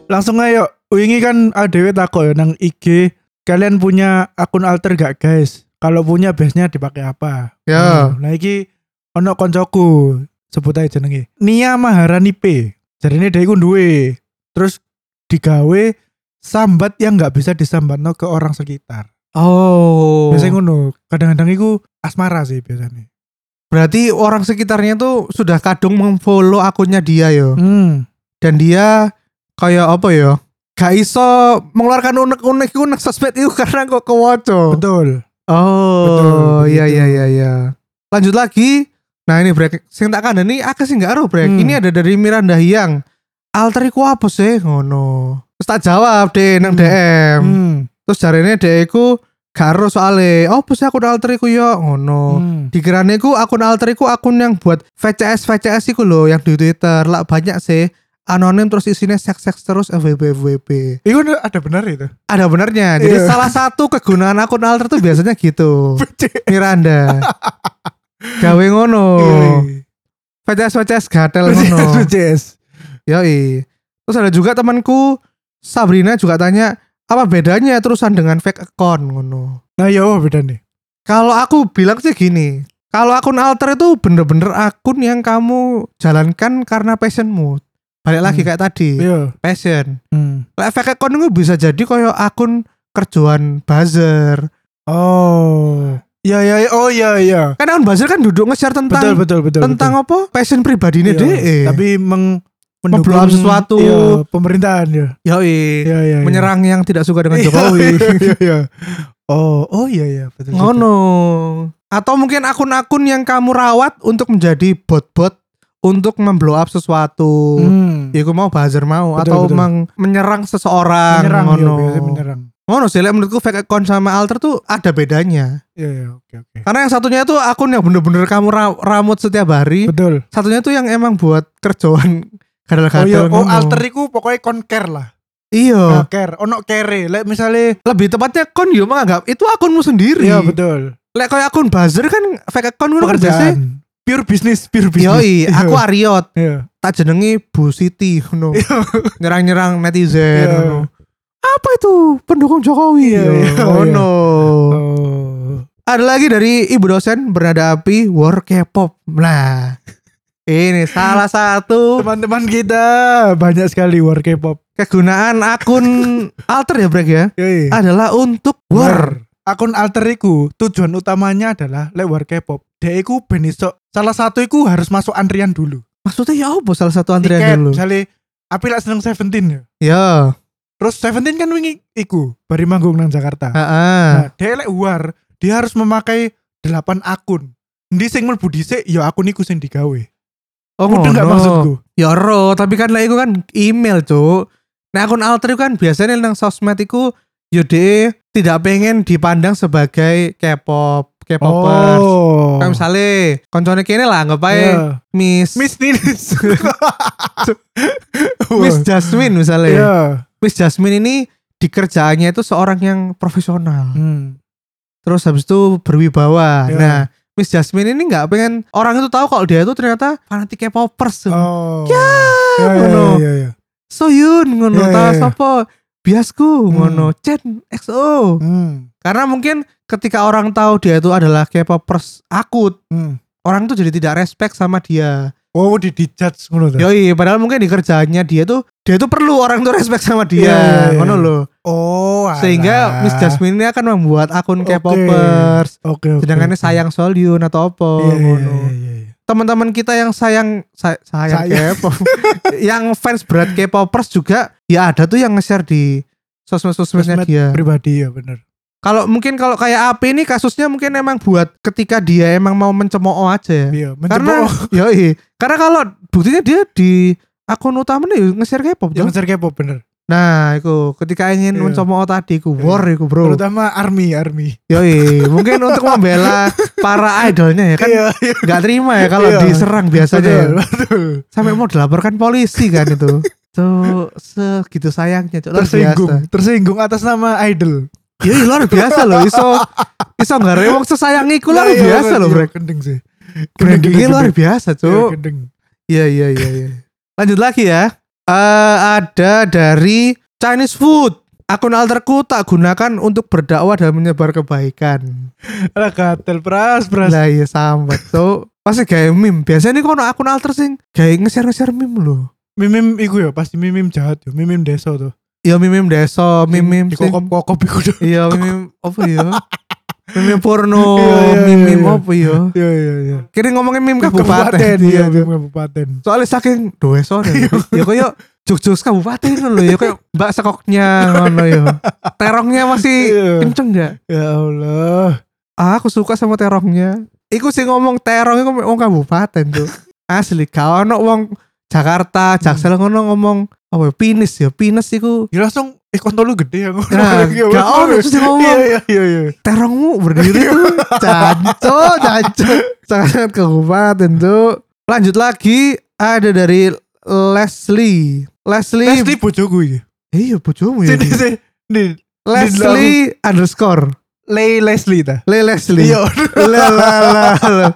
Speaker 2: Langsung ayo. Wingi kan adewe takok yo nang IG kalian punya akun alter gak guys? Kalau punya biasanya dipakai apa?
Speaker 1: Ya.
Speaker 2: Hmm, Nah iki ono koncoku sebut aja jenenge. Nia Maharani P. Jarine dhek iku duwe. Terus digawe sambat yang nggak bisa disambatno ke orang sekitar.
Speaker 1: Oh.
Speaker 2: Biasanya ngono. Kadang-kadang iku asmara sih biasanya.
Speaker 1: Berarti orang sekitarnya tuh sudah kadung memfollow akunnya dia yo.
Speaker 2: Hmm.
Speaker 1: Dan dia kayak apa yo? Gak iso mengeluarkan unek-unek unek sosmed itu karena kok kewoco.
Speaker 2: Betul.
Speaker 1: Oh,
Speaker 2: Betul,
Speaker 1: iya
Speaker 2: begitu.
Speaker 1: iya iya iya. Lanjut lagi. Nah, ini brek sing tak kandani aku sih enggak ero brek.
Speaker 2: Hmm.
Speaker 1: Ini ada dari Miranda Hyang. Alter iku apa sih ngono? Terus tak jawab deh nang
Speaker 2: Hmm.
Speaker 1: DM.
Speaker 2: Hmm.
Speaker 1: Terus jarene deh iku gak ero soale. Apa sih akun alter iku yo ngono.
Speaker 2: Hmm.
Speaker 1: Dikirane iku akun alter iku akun yang buat VCS VCS iku lho yang di Twitter. Lah banyak sih anonim terus isinya seks-seks terus FWB FWB.
Speaker 2: Iku ada benar itu.
Speaker 1: Ada benernya. Jadi
Speaker 2: Iya.
Speaker 1: salah satu kegunaan akun alter tuh biasanya gitu. Miranda. Gawe ngono.
Speaker 2: Iya,
Speaker 1: VCS VCS gatel Oh. ngono.
Speaker 2: Yes.
Speaker 1: Yoi. Terus ada juga temanku Sabrina juga tanya apa bedanya terusan dengan fake account ngono.
Speaker 2: Nah, ya apa beda nih?
Speaker 1: Kalau aku bilang sih gini, kalau akun alter itu bener-bener akun yang kamu jalankan karena passionmu. Balik lagi
Speaker 2: Hmm.
Speaker 1: kayak tadi,
Speaker 2: Iya.
Speaker 1: passion.
Speaker 2: Hmm.
Speaker 1: Lek fake account itu bisa jadi koyo akun kerjaan buzzer,
Speaker 2: Oh. Ya ya ya. oh ya ya.
Speaker 1: Kan Aun Basir kan duduk nge-share tentang
Speaker 2: Betul betul betul.
Speaker 1: tentang apa? Passion pribadinya
Speaker 2: betul. Iya,
Speaker 1: deh.
Speaker 2: Tapi meng
Speaker 1: Nge-blow up sesuatu.
Speaker 2: iya, pemerintahan ya.
Speaker 1: Yoi,
Speaker 2: Ya ya. ya.
Speaker 1: menyerang yang tidak suka dengan
Speaker 2: Iya,
Speaker 1: Jokowi.
Speaker 2: iya, iya, iya. Oh, oh iya ya, betul. juga.
Speaker 1: Ngono. Atau mungkin akun-akun yang kamu rawat untuk menjadi bot-bot untuk memblow up sesuatu.
Speaker 2: Hmm.
Speaker 1: Ya gue mau buzzer mau
Speaker 2: Betul,
Speaker 1: atau
Speaker 2: betul.
Speaker 1: meng- menyerang seseorang
Speaker 2: Menyerang ya,
Speaker 1: ngono.
Speaker 2: biasanya menyerang.
Speaker 1: ngono sih, like, menurutku fake account sama alter tuh ada bedanya.
Speaker 2: Iya iya, oke oke.
Speaker 1: Karena yang satunya itu akun yang bener-bener kamu ra- ramut setiap hari,
Speaker 2: Betul.
Speaker 1: satunya tuh yang emang buat kerjaan
Speaker 2: Oh iya,
Speaker 1: kadal-kadal
Speaker 2: oh
Speaker 1: ngono.
Speaker 2: alter iku pokoknya kon care lah.
Speaker 1: Iya,
Speaker 2: Oh. care, ono care. Lek misalnya
Speaker 1: lebih tepatnya kon yo menganggap itu akunmu sendiri.
Speaker 2: Iya betul.
Speaker 1: Lek kayak akun buzzer kan fake account ngono kan biasanya.
Speaker 2: Pekerjaan. Pure bisnis, pure bisnis.
Speaker 1: Yoi, aku Ariot,
Speaker 2: Iya.
Speaker 1: tak jenengi Bu Siti ngono. Nyerang-nyerang netizen
Speaker 2: Iya.
Speaker 1: ngono. Apa itu pendukung Jokowi?
Speaker 2: Iya, iya,
Speaker 1: Ngono.
Speaker 2: Oh.
Speaker 1: Ada lagi dari ibu dosen bernada api war K-pop. Nah, ini salah satu
Speaker 2: Teman-teman kita banyak sekali war K-pop.
Speaker 1: kegunaan akun alter ya Brek ya
Speaker 2: Yoi.
Speaker 1: adalah untuk war.
Speaker 2: Akun alter iku tujuan utamanya adalah lek war K-pop. Dia iku ben iso- salah satu iku harus masuk antrian dulu.
Speaker 1: Maksudnya ya apa salah satu antrian
Speaker 2: Tiket,
Speaker 1: dulu?
Speaker 2: misalnya api lek seneng Seventeen ya.
Speaker 1: Ya,
Speaker 2: Terus Seventeen kan wingi iku bari manggung nang
Speaker 1: Ah.
Speaker 2: Jakarta.
Speaker 1: heeh.
Speaker 2: Nah, dia lek war, dia harus memakai 8 akun. Ndi sing mlebu dhisik ya akun iku sing digawe.
Speaker 1: Oh,
Speaker 2: Udah enggak
Speaker 1: ngono.
Speaker 2: maksudku.
Speaker 1: Ya ro, tapi kan lah iku kan email, Cuk. Nah, akun alter itu kan biasanya nang sosmed iku ya dhek tidak pengen dipandang sebagai K-pop, K-popers.
Speaker 2: Oh.
Speaker 1: Kayak misalnya koncone kene lah anggap ae
Speaker 2: Iya.
Speaker 1: Miss
Speaker 2: Miss Ninis.
Speaker 1: Miss Jasmine misalnya.
Speaker 2: Iya.
Speaker 1: Miss Jasmine ini di kerjaannya itu seorang yang profesional.
Speaker 2: Hmm.
Speaker 1: Terus habis itu berwibawa.
Speaker 2: Iya.
Speaker 1: Nah, Miss Jasmine ini nggak pengen orang itu tahu kalau dia itu ternyata fanatik K-popers.
Speaker 2: Oh.
Speaker 1: Ya,
Speaker 2: Ya, ya,
Speaker 1: ngono.
Speaker 2: ya, ya, ya.
Speaker 1: Soyun ngono
Speaker 2: Iya, iya,
Speaker 1: ta
Speaker 2: iya.
Speaker 1: sapa? Biasku
Speaker 2: Hmm.
Speaker 1: ngono Chen XO.
Speaker 2: Hmm.
Speaker 1: Karena mungkin ketika orang tahu dia itu adalah K-popers akut,
Speaker 2: Hmm.
Speaker 1: orang tuh jadi tidak respect sama dia.
Speaker 2: Oh, di di judge ngono ta?
Speaker 1: Yoi, padahal mungkin di kerjaannya dia tuh dia tuh perlu orang tuh respect sama dia.
Speaker 2: Iya, iya, iya.
Speaker 1: Ngono loh.
Speaker 2: Oh, alah.
Speaker 1: Sehingga Miss Jasmine ini akan membuat akun
Speaker 2: Oke.
Speaker 1: K-popers.
Speaker 2: Oke, oke.
Speaker 1: Sedangkannya sayang Solyun atau apa
Speaker 2: Iya, iya,
Speaker 1: ngono.
Speaker 2: iya, iya, iya.
Speaker 1: Teman-teman kita yang sayang say- sayang
Speaker 2: Sayang.
Speaker 1: K-pop, yang fans berat K-popers juga ya ada tuh yang nge-share di sosmed-sosmednya
Speaker 2: Sosmed
Speaker 1: dia.
Speaker 2: Pribadi ya bener.
Speaker 1: Kalau mungkin kalau kayak Api ini kasusnya mungkin emang buat ketika dia emang mau mencemooh aja ya.
Speaker 2: Iya,
Speaker 1: Karena yoi. Karena kalau buktinya dia di akun utamanya ya nge-share K-pop tuh.
Speaker 2: yang ngejar K-pop Iya, bener.
Speaker 1: Nah, itu ketika ingin
Speaker 2: Iya.
Speaker 1: mencemooh tadi ku
Speaker 2: Iya.
Speaker 1: war iku, Bro.
Speaker 2: Terutama army, army.
Speaker 1: Yoi, mungkin untuk membela para idolnya ya kan
Speaker 2: Iya, iya.
Speaker 1: nggak terima ya kalau
Speaker 2: Iya.
Speaker 1: diserang biasanya. ya.
Speaker 2: Betul, betul.
Speaker 1: Sampai mau dilaporkan polisi kan itu. Tuh segitu sayangnya, Cuk. Luar
Speaker 2: Tersinggung,
Speaker 1: biasa.
Speaker 2: tersinggung atas nama idol.
Speaker 1: Iya, luar biasa loh. Iso iso nggak wong sesayang iku luar
Speaker 2: Iya, iya,
Speaker 1: biasa
Speaker 2: bener,
Speaker 1: loh,
Speaker 2: iya,
Speaker 1: Bro.
Speaker 2: Gendeng sih.
Speaker 1: Brandingnya luar biasa
Speaker 2: Iya,
Speaker 1: tuh.
Speaker 2: gendeng.
Speaker 1: Iya iya iya. iya. Lanjut lagi ya. Eh ada dari Chinese food. Akun alterku tak gunakan untuk berdakwah dan menyebar kebaikan.
Speaker 2: Alah, gatel pras, pras.
Speaker 1: Lah iya sambat tuh. Pasti kayak meme. Biasanya nih kono akun alter sing kayak nge-share nge-share meme loh.
Speaker 2: Mimim iku ya, pasti mimim jahat ya, mimim desa tuh.
Speaker 1: Iya meme-meme desa, meme-meme sing-
Speaker 2: Dikokop-kokop iku tuh.
Speaker 1: Iya meme apa ya? meme porno,
Speaker 2: Iya, iya, iya,
Speaker 1: meme
Speaker 2: iya.
Speaker 1: Oh, apa ya?
Speaker 2: Iya, iya, iya.
Speaker 1: Kira ngomongin meme kabupaten.
Speaker 2: iya,
Speaker 1: Iya,
Speaker 2: mim kabupaten.
Speaker 1: soalnya saking doa sore ya koyo jog-jog kabupaten ngono lho ya koyo mbak sekoknya ngono ya terongnya masih
Speaker 2: Iya.
Speaker 1: kenceng gak
Speaker 2: Ya Allah.
Speaker 1: ah, aku suka sama terongnya iku sih ngomong terong iku wong kabupaten tuh asli gak ono wong Jakarta Jaksel ngono ngomong apa ya, pinis ya pinis iku
Speaker 2: Ya langsung eh kontol lu gede ya ngono.
Speaker 1: Nah,
Speaker 2: Iya,
Speaker 1: gak
Speaker 2: bener.
Speaker 1: ono terus dia ngomong.
Speaker 2: Iya iya iya iya.
Speaker 1: terongmu berdiri tuh canco canco sangat kabupaten tuh lanjut lagi ada dari Leslie Leslie,
Speaker 2: Leslie bojoku iki.
Speaker 1: iya bojomu ya
Speaker 2: Sini sini. Di
Speaker 1: Leslie underscore
Speaker 2: Lay Leslie ta.
Speaker 1: Le Leslie
Speaker 2: Iya.
Speaker 1: Le- la- la- la.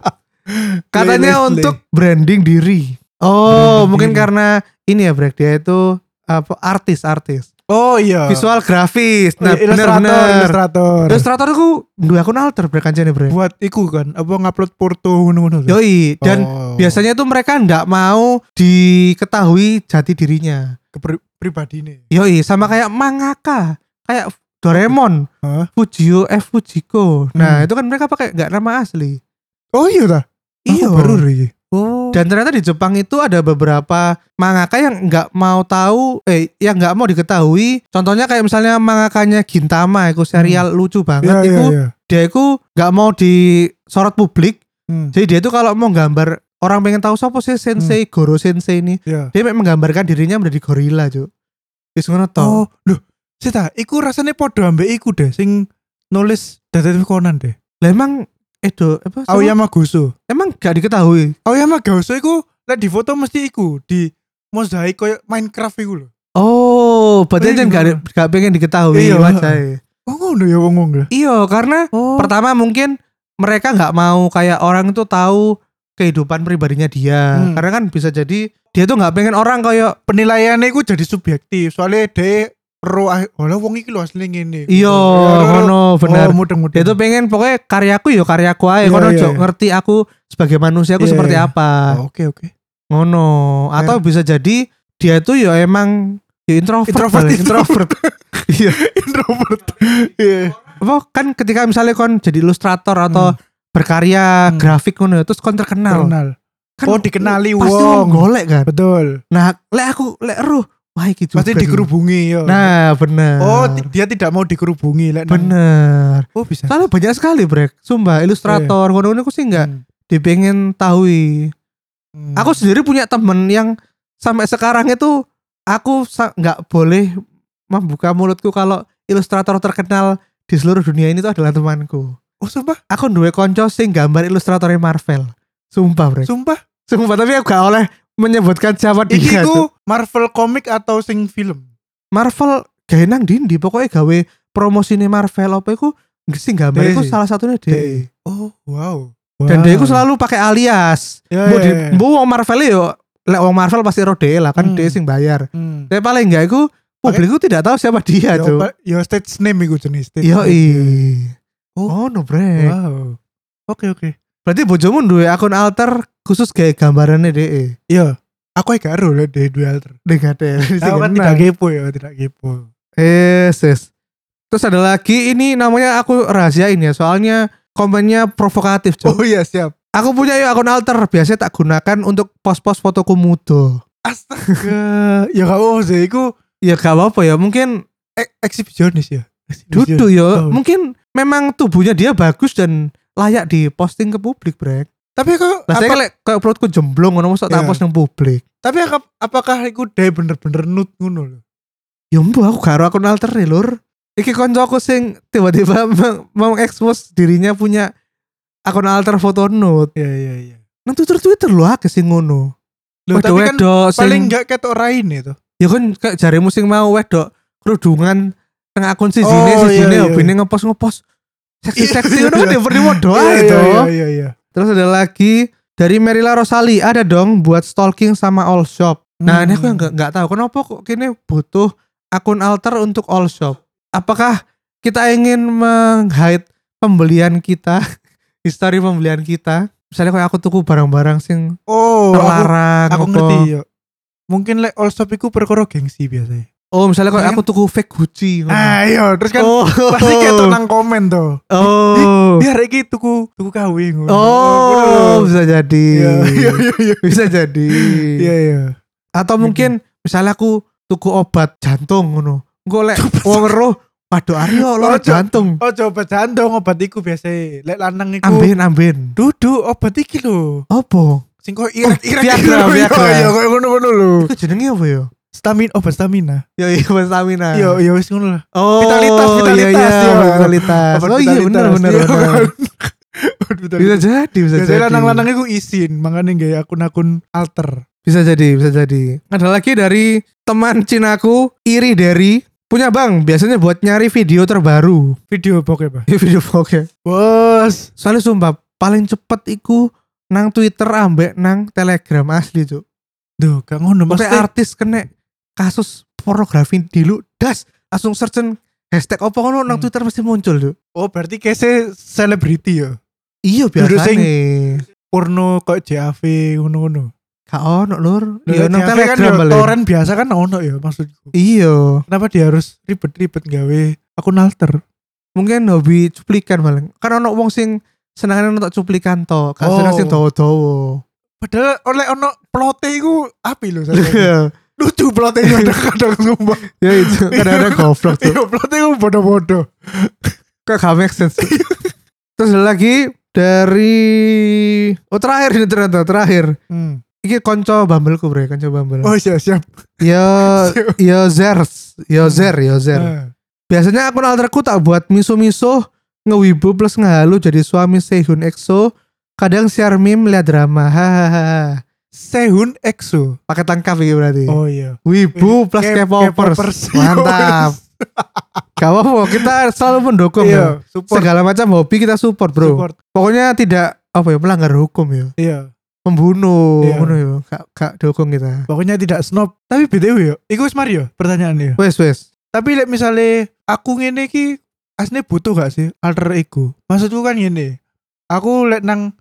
Speaker 1: katanya
Speaker 2: Leslie.
Speaker 1: untuk branding diri oh
Speaker 2: Branding
Speaker 1: mungkin
Speaker 2: diri.
Speaker 1: karena ini ya Brek dia itu apa artis artis
Speaker 2: Oh iya.
Speaker 1: visual grafis
Speaker 2: Iya,
Speaker 1: nah
Speaker 2: ilustrator,
Speaker 1: benar-benar
Speaker 2: ilustrator.
Speaker 1: Eh. ilustrator aku dua akun alter Brek kancane Brek
Speaker 2: Buat iku kan apa ngupload foto ngono-ngono. tuh.
Speaker 1: yoi dan
Speaker 2: Oh.
Speaker 1: biasanya tuh mereka ndak mau diketahui jati dirinya
Speaker 2: Kepri- pribadi nih.
Speaker 1: yoi sama kayak mangaka kayak Doraemon
Speaker 2: Hah?
Speaker 1: Fujio F Fujiko nah
Speaker 2: Hmm.
Speaker 1: itu kan mereka pakai nggak nama asli
Speaker 2: Oh iya dah.
Speaker 1: Iya.
Speaker 2: Baru iki.
Speaker 1: Oh. Dan ternyata di Jepang itu ada beberapa mangaka yang nggak mau tahu, eh yang nggak mau diketahui. Contohnya kayak misalnya mangakanya Gintama, itu serial lucu banget.
Speaker 2: Iya iya
Speaker 1: itu
Speaker 2: iya.
Speaker 1: dia itu nggak mau disorot publik.
Speaker 2: Hmm.
Speaker 1: Jadi dia itu kalau mau gambar orang pengen tahu siapa sih sensei Goro sensei ini,
Speaker 2: Iya.
Speaker 1: dia memang menggambarkan dirinya menjadi gorila, Cuk. Wis ngono to.
Speaker 2: Oh, loh, Sita, iku rasanya podo ambek iku deh sing nulis detektif Conan deh.
Speaker 1: Lah emang Edo apa siapa?
Speaker 2: Aoyama Goso.
Speaker 1: emang gak diketahui.
Speaker 2: Aoyama Goso iya, iku lek di foto mesti iku di mozaik koyo Minecraft iku lho.
Speaker 1: Oh, berarti
Speaker 2: Iya,
Speaker 1: dia nggak
Speaker 2: gimana?
Speaker 1: nggak pengen diketahui
Speaker 2: Iya.
Speaker 1: wajahnya.
Speaker 2: Oh ngono ya wong wong
Speaker 1: Iya, karena
Speaker 2: Oh.
Speaker 1: pertama mungkin mereka nggak mau kayak orang itu tahu kehidupan pribadinya dia
Speaker 2: Hmm.
Speaker 1: karena kan bisa jadi dia tuh nggak pengen orang kayak
Speaker 2: penilaiannya iku jadi subjektif soalnya de ro ah, "Walah, wong iki lho asline ngene.
Speaker 1: iyo
Speaker 2: Ro- ro- ro-
Speaker 1: kono "Iya, benar
Speaker 2: Oh, mudeng-mudeng.
Speaker 1: dia tuh pengen pokoknya ya karyaku yo karyaku aja
Speaker 2: Iya,
Speaker 1: kono
Speaker 2: iya,
Speaker 1: jok
Speaker 2: iya.
Speaker 1: ngerti aku sebagai manusia aku
Speaker 2: Iya,
Speaker 1: seperti
Speaker 2: iya.
Speaker 1: apa
Speaker 2: Oh, Eh. oke oke.
Speaker 1: ngono atau bisa jadi dia tuh yo emang yo introvert
Speaker 2: Introvert,
Speaker 1: lah,
Speaker 2: introvert.
Speaker 1: iya
Speaker 2: Introvert. Iya.
Speaker 1: apa kan ketika misalnya kon jadi ilustrator atau berkarya
Speaker 2: Hmm.
Speaker 1: grafik ngono ya, terus kon terkenal,
Speaker 2: Kenal.
Speaker 1: Kan
Speaker 2: Oh, dikenali
Speaker 1: pasti
Speaker 2: wong.
Speaker 1: wong golek kan
Speaker 2: Betul.
Speaker 1: Nah, lek aku lek eruh, wah iki juga
Speaker 2: Pasti
Speaker 1: nih.
Speaker 2: dikerubungi ya.
Speaker 1: Nah, bener.
Speaker 2: Oh, ti- dia tidak mau dikerubungi lek nang-
Speaker 1: bener.
Speaker 2: Oh, bisa.
Speaker 1: Soalnya banyak sekali, Brek. Sumpah, ilustrator, ngono-ngono aku sih enggak
Speaker 2: Iya. Hmm.
Speaker 1: dipengen tahui.
Speaker 2: Hmm.
Speaker 1: Aku sendiri punya temen yang sampai sekarang itu aku sa- nggak boleh membuka mulutku kalau ilustrator terkenal di seluruh dunia ini tuh adalah temanku.
Speaker 2: oh sumpah,
Speaker 1: Aku duwe konco sing gambar ilustratornya Marvel. Sumpah, Brek.
Speaker 2: sumpah.
Speaker 1: Sumpah, tapi aku gak oleh menyebutkan siapa
Speaker 2: Iki
Speaker 1: dia. Cuk.
Speaker 2: ku Marvel komik atau sing film?
Speaker 1: Marvel gawe nang dindi pokoknya gawe promosine Marvel apa iku sing gambar
Speaker 2: Dee.
Speaker 1: iku salah satunya DE.
Speaker 2: Oh, wow.
Speaker 1: Dan DE iku selalu pakai alias.
Speaker 2: ya,
Speaker 1: Mbok
Speaker 2: ya,
Speaker 1: di
Speaker 2: ya.
Speaker 1: mbok wong Marvel yo lek wong Marvel pasti ro DE lah kan
Speaker 2: Hmm.
Speaker 1: DE sing bayar.
Speaker 2: Hmm. Ya,
Speaker 1: Tapi paling enggak iku publik iku tidak tahu siapa dia,
Speaker 2: Yo,
Speaker 1: Ya, Cuk.
Speaker 2: pa- Yo stage name iku jenis stage.
Speaker 1: Yo iya. i.
Speaker 2: name.
Speaker 1: Oh, no brek.
Speaker 2: Wow. Oke oke.
Speaker 1: Berarti bojomu duwe akun alter khusus gawe gambarannya DE.
Speaker 2: Iya. Aku gak ero lek di dual. Aku
Speaker 1: DKT.
Speaker 2: kan tidak kepo ya, tidak kepo.
Speaker 1: Yes, yes. Terus ada lagi ini namanya aku rahasiain ya soalnya komennya provokatif, Cuk.
Speaker 2: Oh iya, siap.
Speaker 1: Aku punya yuk akun alter biasanya tak gunakan untuk pos-pos fotoku muda.
Speaker 2: Astaga. ya gak apa sih, iku
Speaker 1: Ya gak apa-apa ya, mungkin
Speaker 2: ek- eksibisionis ya. Eksibisionis.
Speaker 1: duduk ya.
Speaker 2: Oh.
Speaker 1: Mungkin memang tubuhnya dia bagus dan layak diposting ke publik, Brek.
Speaker 2: Tapi aku
Speaker 1: Lah saya kan-
Speaker 2: apa-
Speaker 1: kayak kayak perutku jemblong ngono mosok tak
Speaker 2: Iya.
Speaker 1: post nang publik.
Speaker 2: tapi aku- apakah iku dhewe bener-bener nut ngono lho?
Speaker 1: Ya mbok aku gak ada akun alter ya, Lur. Iki koncoku sing tiba-tiba meng- mengekspos dirinya punya akun alter foto nude.
Speaker 2: Iya iya iya.
Speaker 1: Nang Twitter Twitter lho akeh sing ngono.
Speaker 2: Loh, tapi kan
Speaker 1: Wedok-wedok sing-
Speaker 2: paling gak ketok raine to.
Speaker 1: ya kan kayak jarimu sing mau wedok kerudungan teng akun si Jine si
Speaker 2: Oh,
Speaker 1: Jine
Speaker 2: iya, iya.
Speaker 1: hobine ngepost ngepost seksi seksi itu
Speaker 2: Iya,
Speaker 1: kan
Speaker 2: iya.
Speaker 1: diberi modal
Speaker 2: Iya,
Speaker 1: itu
Speaker 2: Iya iya iya.
Speaker 1: terus ada lagi dari Merila Rosali ada dong buat stalking sama all shop nah ini aku
Speaker 2: Hmm.
Speaker 1: yang nggak nggak tahu kenapa kok kini butuh akun alter untuk all shop apakah kita ingin menghide pembelian kita histori pembelian kita misalnya kayak aku tuku barang-barang sing
Speaker 2: Oh, aku,
Speaker 1: terlarang
Speaker 2: aku
Speaker 1: apa.
Speaker 2: ngerti ya. Mungkin lek all shop iku perkara gengsi biasanya.
Speaker 1: oh misalnya kayak aku tuku fake Gucci ngono.
Speaker 2: Ah, iya, terus kan
Speaker 1: oh.
Speaker 2: pasti ketok nang komen to.
Speaker 1: Oh.
Speaker 2: Biar iki tuku tuku KW ngono.
Speaker 1: Oh,
Speaker 2: Ngono lho.
Speaker 1: bisa jadi.
Speaker 2: Iya iya iya iya.
Speaker 1: Bisa jadi.
Speaker 2: Iya iya.
Speaker 1: Atau mungkin misalnya aku tuku obat jantung ngono. Engko lek wong roh waduh Aryo lara
Speaker 2: Ojo.
Speaker 1: jantung.
Speaker 2: Oh, coba jandong obat iku biasanya. Lek lanang iku
Speaker 1: Amben amben.
Speaker 2: duduk obat iki lho.
Speaker 1: Opo?
Speaker 2: Sing koyo irek-irek
Speaker 1: Oh, Viagra,
Speaker 2: iku lho. Iya,
Speaker 1: Viagra.
Speaker 2: Iya, koyo ngono-ngono lho.
Speaker 1: Itu jenenge apa ya?
Speaker 2: Stamina obat stamina.
Speaker 1: Ya iya stamina.
Speaker 2: Iya iya wis ngono lah.
Speaker 1: Oh,
Speaker 2: Vitalitas, vitalitas,
Speaker 1: Iya, iya,
Speaker 2: iya.
Speaker 1: vitalitas.
Speaker 2: Obat
Speaker 1: Oh iya
Speaker 2: vitalitas.
Speaker 1: benar benar
Speaker 2: Iya,
Speaker 1: benar.
Speaker 2: kan? Obat
Speaker 1: Bisa
Speaker 2: vitalitas.
Speaker 1: jadi, bisa
Speaker 2: Biasanya
Speaker 1: jadi.
Speaker 2: lanang-lanang iku izin, makanya gak akun-akun alter.
Speaker 1: Bisa jadi, bisa jadi. Ada lagi dari teman Cinaku, Iri Derry. Punya bang, biasanya buat nyari video terbaru.
Speaker 2: Video bokep, Pak.
Speaker 1: Ya, video vlognya.
Speaker 2: Bos.
Speaker 1: Soalnya sumpah, paling cepet iku nang Twitter ambek nang Telegram asli cuk.
Speaker 2: Duh, gak ngono
Speaker 1: Sampai
Speaker 2: maksudnya.
Speaker 1: artis kena kasus pornografi dulu das langsung searchen hashtag opo ngono nang
Speaker 2: Hmm.
Speaker 1: Twitter pasti muncul cuk.
Speaker 2: Oh, berarti kese selebriti ya.
Speaker 1: Iya
Speaker 2: Duduk
Speaker 1: biasa
Speaker 2: sing-
Speaker 1: nih.
Speaker 2: Porno kok JAV ngono-ngono.
Speaker 1: Kak ono lur.
Speaker 2: Loh,
Speaker 1: Iya nang
Speaker 2: JAV
Speaker 1: Telegram
Speaker 2: kan ya,
Speaker 1: paling.
Speaker 2: torrent biasa kan ono ya maksudku.
Speaker 1: Iya.
Speaker 2: Kenapa dia harus ribet-ribet gawe akun alter.
Speaker 1: mungkin hobi cuplikan paling kan ono wong sing senengane nonton cuplikan to kasih
Speaker 2: Oh.
Speaker 1: sing dawa-dawa
Speaker 2: Padahal oleh ono plote iku api lho saya. Lucu plote iku kadang-kadang sumpah.
Speaker 1: ya Iya, itu kadang-kadang goblok tuh
Speaker 2: Iya plote iku bodoh-bodoh.
Speaker 1: Kok gak make sense terus ada lagi dari oh terakhir ini ternyata terakhir ini konco bumbleku bro konco bumble
Speaker 2: Oh siap siap.
Speaker 1: yo
Speaker 2: Siap.
Speaker 1: yo zers yo zer yo zer
Speaker 2: Ah.
Speaker 1: Biasanya akun alterku tak buat miso-miso, ngewibu plus ngehalu jadi suami Sehun EXO, kadang share meme lihat drama. Hahaha.
Speaker 2: Sehun EXO.
Speaker 1: Paket lengkap ini berarti.
Speaker 2: Oh iya.
Speaker 1: Wibu plus
Speaker 2: K-
Speaker 1: K-popers.
Speaker 2: K-popers.
Speaker 1: Mantap. Gak apa-apa, kita selalu mendukung bro.
Speaker 2: Iya, support
Speaker 1: Segala macam hobi kita support bro.
Speaker 2: support.
Speaker 1: Pokoknya tidak apa ya melanggar hukum ya.
Speaker 2: Iya.
Speaker 1: Membunuh,
Speaker 2: Iya.
Speaker 1: ngono ya. Gak, gak dukung kita.
Speaker 2: Pokoknya tidak snob. Tapi BTW yo, iku wis mari yo pertanyaannya yo.
Speaker 1: Wes wes.
Speaker 2: Tapi lek misale aku ngene iki asline butuh gak sih alter ego? Maksudku kan ngene. Aku lek nang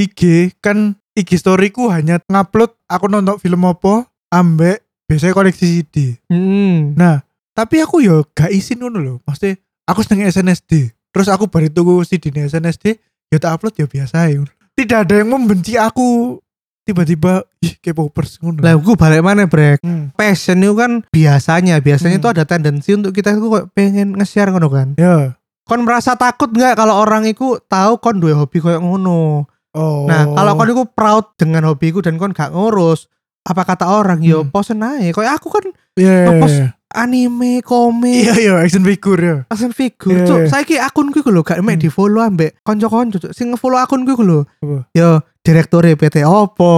Speaker 2: IG kan IG storyku hanya ngupload aku nonton film apa ambek biasanya koleksi CD.
Speaker 1: Hmm.
Speaker 2: Nah, tapi aku yo gak izin ngono lho. Maksudnya aku seneng SNSD. Terus aku baru tuku CD di SNSD, ya tak upload ya biasa ya. Tidak ada yang membenci aku tiba-tiba ih K-popers ngono.
Speaker 1: Lah, gue balik mana brek?
Speaker 2: Hmm.
Speaker 1: passion itu kan biasanya biasanya
Speaker 2: Hmm.
Speaker 1: itu ada tendensi untuk kita itu kok pengen nge-share ngono kan
Speaker 2: Ya.
Speaker 1: kon merasa takut nggak kalau orang itu tahu kon dua hobi kayak ngono
Speaker 2: Oh.
Speaker 1: nah kalau kon itu proud dengan hobiku dan kon gak ngurus apa kata orang yo
Speaker 2: Hmm.
Speaker 1: posen aja kayak aku kan
Speaker 2: Iya, iya,
Speaker 1: ngepost
Speaker 2: iya.
Speaker 1: anime komik
Speaker 2: Iya iya action figure ya.
Speaker 1: action figure
Speaker 2: Iya,
Speaker 1: cuk
Speaker 2: iya.
Speaker 1: saiki akunku iku lho gak mek
Speaker 2: Hmm.
Speaker 1: di follow ambek kanca-kanca cuk sing nge-follow akunku iku lho
Speaker 2: Apa?
Speaker 1: yo direktore PT opo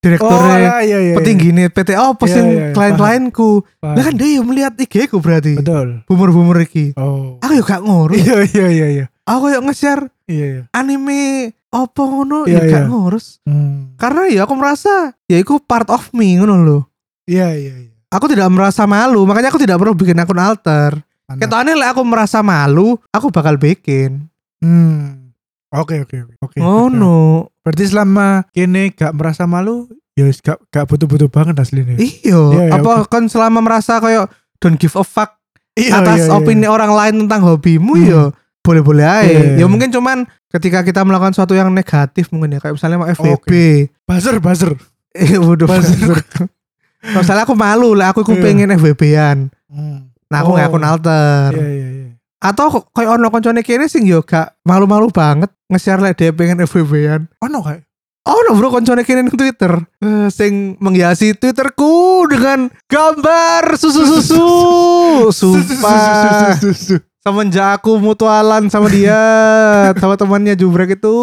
Speaker 1: direktore
Speaker 2: alah, iya, iya, iya.
Speaker 1: petinggi PT opo
Speaker 2: Iya,
Speaker 1: sing
Speaker 2: iya, iya,
Speaker 1: klien-klienku
Speaker 2: Paham.
Speaker 1: Lah kan dia yang melihat IG ku berarti.
Speaker 2: betul.
Speaker 1: Bumur-bumur iki.
Speaker 2: Oh.
Speaker 1: Aku ya gak ngurus.
Speaker 2: Iya iya iya iya.
Speaker 1: Aku ya nge-share
Speaker 2: Iya iya.
Speaker 1: anime opo ngono ya
Speaker 2: Iya,
Speaker 1: gak
Speaker 2: iya.
Speaker 1: ngurus.
Speaker 2: Hmm.
Speaker 1: Karena ya aku merasa ya iku part of me ngono loh.
Speaker 2: Iya iya iya.
Speaker 1: Aku tidak merasa malu, makanya aku tidak perlu bikin akun alter.
Speaker 2: Mantap.
Speaker 1: Ketokane lek aku merasa malu, aku bakal bikin.
Speaker 2: Hmm. Oke oke oke. Oke.
Speaker 1: Ngono.
Speaker 2: Berarti selama kene gak merasa malu, ya wis gak gak butuh-butuh banget aslinya. Iya,
Speaker 1: Iya,
Speaker 2: iya,
Speaker 1: apa kan selama merasa kayak don't give a fuck
Speaker 2: Iya,
Speaker 1: atas opini orang lain tentang hobimu
Speaker 2: Hmm.
Speaker 1: ya boleh-boleh aja.
Speaker 2: Iya, iya.
Speaker 1: Ya mungkin cuman ketika kita melakukan sesuatu yang negatif mungkin ya kayak misalnya mau FVB.
Speaker 2: buzzer buzzer.
Speaker 1: Eh, waduh.
Speaker 2: Buzzer.
Speaker 1: Kalau salah aku malu lah, aku, aku
Speaker 2: Iya.
Speaker 1: pengen FWB-an.
Speaker 2: Hmm.
Speaker 1: Nah, aku nggak
Speaker 2: Oh.
Speaker 1: akun alter.
Speaker 2: Iya iya iya.
Speaker 1: Atau kok- kayak ono koncone kene sing yo gak malu-malu banget nge-share lah dia pengen FWB-an.
Speaker 2: Ono Oh, kayak
Speaker 1: Ono bro koncone kene nang Twitter. Eh, sing menghiasi Twitterku dengan gambar susu-susu. Sumpah. Semenjak aku mutualan sama dia, sama temannya jubrek itu.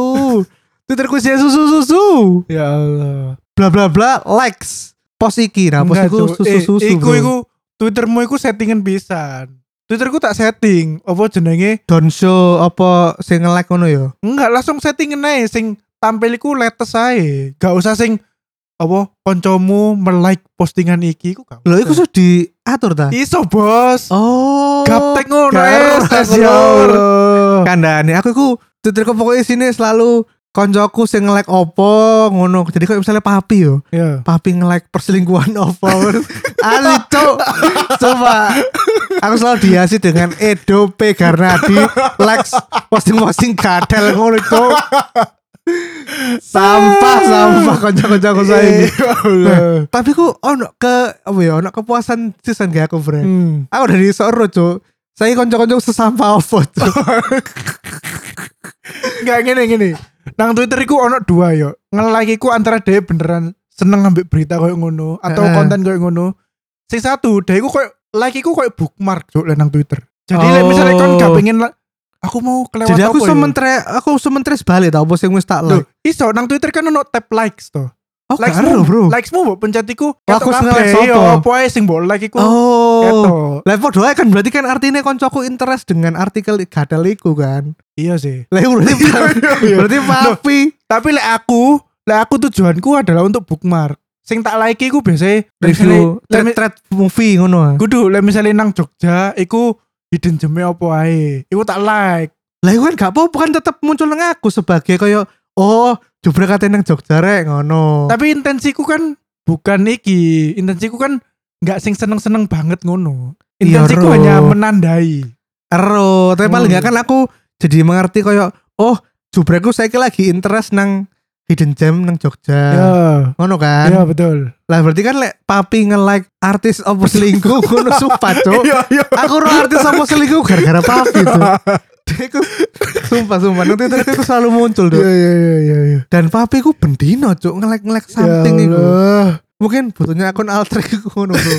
Speaker 1: Twitterku sih susu-susu.
Speaker 2: Ya Allah.
Speaker 1: bla bla bla likes post iki nah post
Speaker 2: Enggak,
Speaker 1: iku
Speaker 2: Cuk.
Speaker 1: susu
Speaker 2: Eh,
Speaker 1: susu
Speaker 2: Iku iku Twittermu iku settingan pisan. Twitterku tak setting. Apa jenenge?
Speaker 1: don't show apa sing like ngono ya
Speaker 2: Enggak, langsung settingan ae sing tampiliku latest ae. Gak usah sing apa koncomu melike postingan iki iku gak.
Speaker 1: lho iku
Speaker 2: usah.
Speaker 1: sudah diatur ta
Speaker 2: iso, Bos.
Speaker 1: oh
Speaker 2: Gaptek ngono eh,
Speaker 1: Gak
Speaker 2: es,
Speaker 1: ngono. eh,
Speaker 2: ya Allah.
Speaker 1: kandane aku iku Twitterku pokoknya sini selalu koncoku sing like opo ngono jadi kok misalnya papi yo
Speaker 2: Ya.
Speaker 1: papi nge-like perselingkuhan opo ali cok coba aku selalu dihiasi dengan Edo P Garnadi likes posting-posting kadel ngono cok sampah sampah konco-konco aku saya ini
Speaker 2: Ya Allah.
Speaker 1: tapi ku ono ke apa ya ono kepuasan sisan gak aku bre
Speaker 2: Hmm.
Speaker 1: aku dari soro cok saya konco-konco sesampah opo cok
Speaker 2: Enggak ngene ngene. Nang Twitter iku ono dua yo. Nge-like iku antara dhewe beneran seneng ngambil berita koyo ngono atau
Speaker 1: Heeh.
Speaker 2: konten koyo ngono. Sing satu dhewe iku koyo like iku koyo bookmark cuk lek nang Twitter. Jadi lek
Speaker 1: Oh.
Speaker 2: misalnya kon gak pengen la- aku mau kelewat
Speaker 1: jadi aku
Speaker 2: apa ya?
Speaker 1: sementre aku sementre sebalik tau bos yang wis tak
Speaker 2: Loh,
Speaker 1: like
Speaker 2: iso nang Twitter kan ono tab likes to.
Speaker 1: oh
Speaker 2: likes
Speaker 1: gak ero, bro
Speaker 2: Likesmu mbok pencet iku
Speaker 1: Oh, aku seneng like
Speaker 2: yo
Speaker 1: sopo.
Speaker 2: opo ae sing mbok like iku.
Speaker 1: oh
Speaker 2: ketok.
Speaker 1: Lah podo ae kan berarti kan artinya koncoku interest dengan artikel gadal iku kan.
Speaker 2: Iya sih.
Speaker 1: Lah iku berarti
Speaker 2: iya.
Speaker 1: berarti papi.
Speaker 2: Tapi lek aku, lek aku tujuanku adalah untuk bookmark. Sing tak like iku biasanya
Speaker 1: Review
Speaker 2: Lek- lek-
Speaker 1: thread movie ngono. ah.
Speaker 2: Kudu lek misalnya nang Jogja iku hidden gem apa ae. Iku tak like.
Speaker 1: Lah iku kan gak apa-apa kan tetep muncul nang aku sebagai koyo oh jebret kate nang Jogja rek ngono.
Speaker 2: Tapi intensiku kan bukan iki. Intensiku kan nggak sing seneng-seneng banget ngono.
Speaker 1: Iya,
Speaker 2: Intensiku
Speaker 1: Ro.
Speaker 2: hanya menandai.
Speaker 1: ero tapi paling
Speaker 2: Hmm.
Speaker 1: nggak kan aku jadi mengerti koyo oh jubreku saya lagi interest nang hidden gem nang Jogja
Speaker 2: Ya,
Speaker 1: ngono Nah. kan
Speaker 2: ya betul.
Speaker 1: lah berarti kan lek papi nge-like artis opo selingkuh ngono sumpah cok
Speaker 2: Iya, iya.
Speaker 1: aku roh artis opo selingkuh gara-gara papi tuh Dia iku- sumpah sumpah nanti terus itu selalu muncul tuh
Speaker 2: Iya, iya, iya, iya, iya.
Speaker 1: dan papi ku bendino cuk ngelek ngelek something
Speaker 2: Ya
Speaker 1: iku
Speaker 2: Allah.
Speaker 1: mungkin butuhnya akun alter iku ngono bro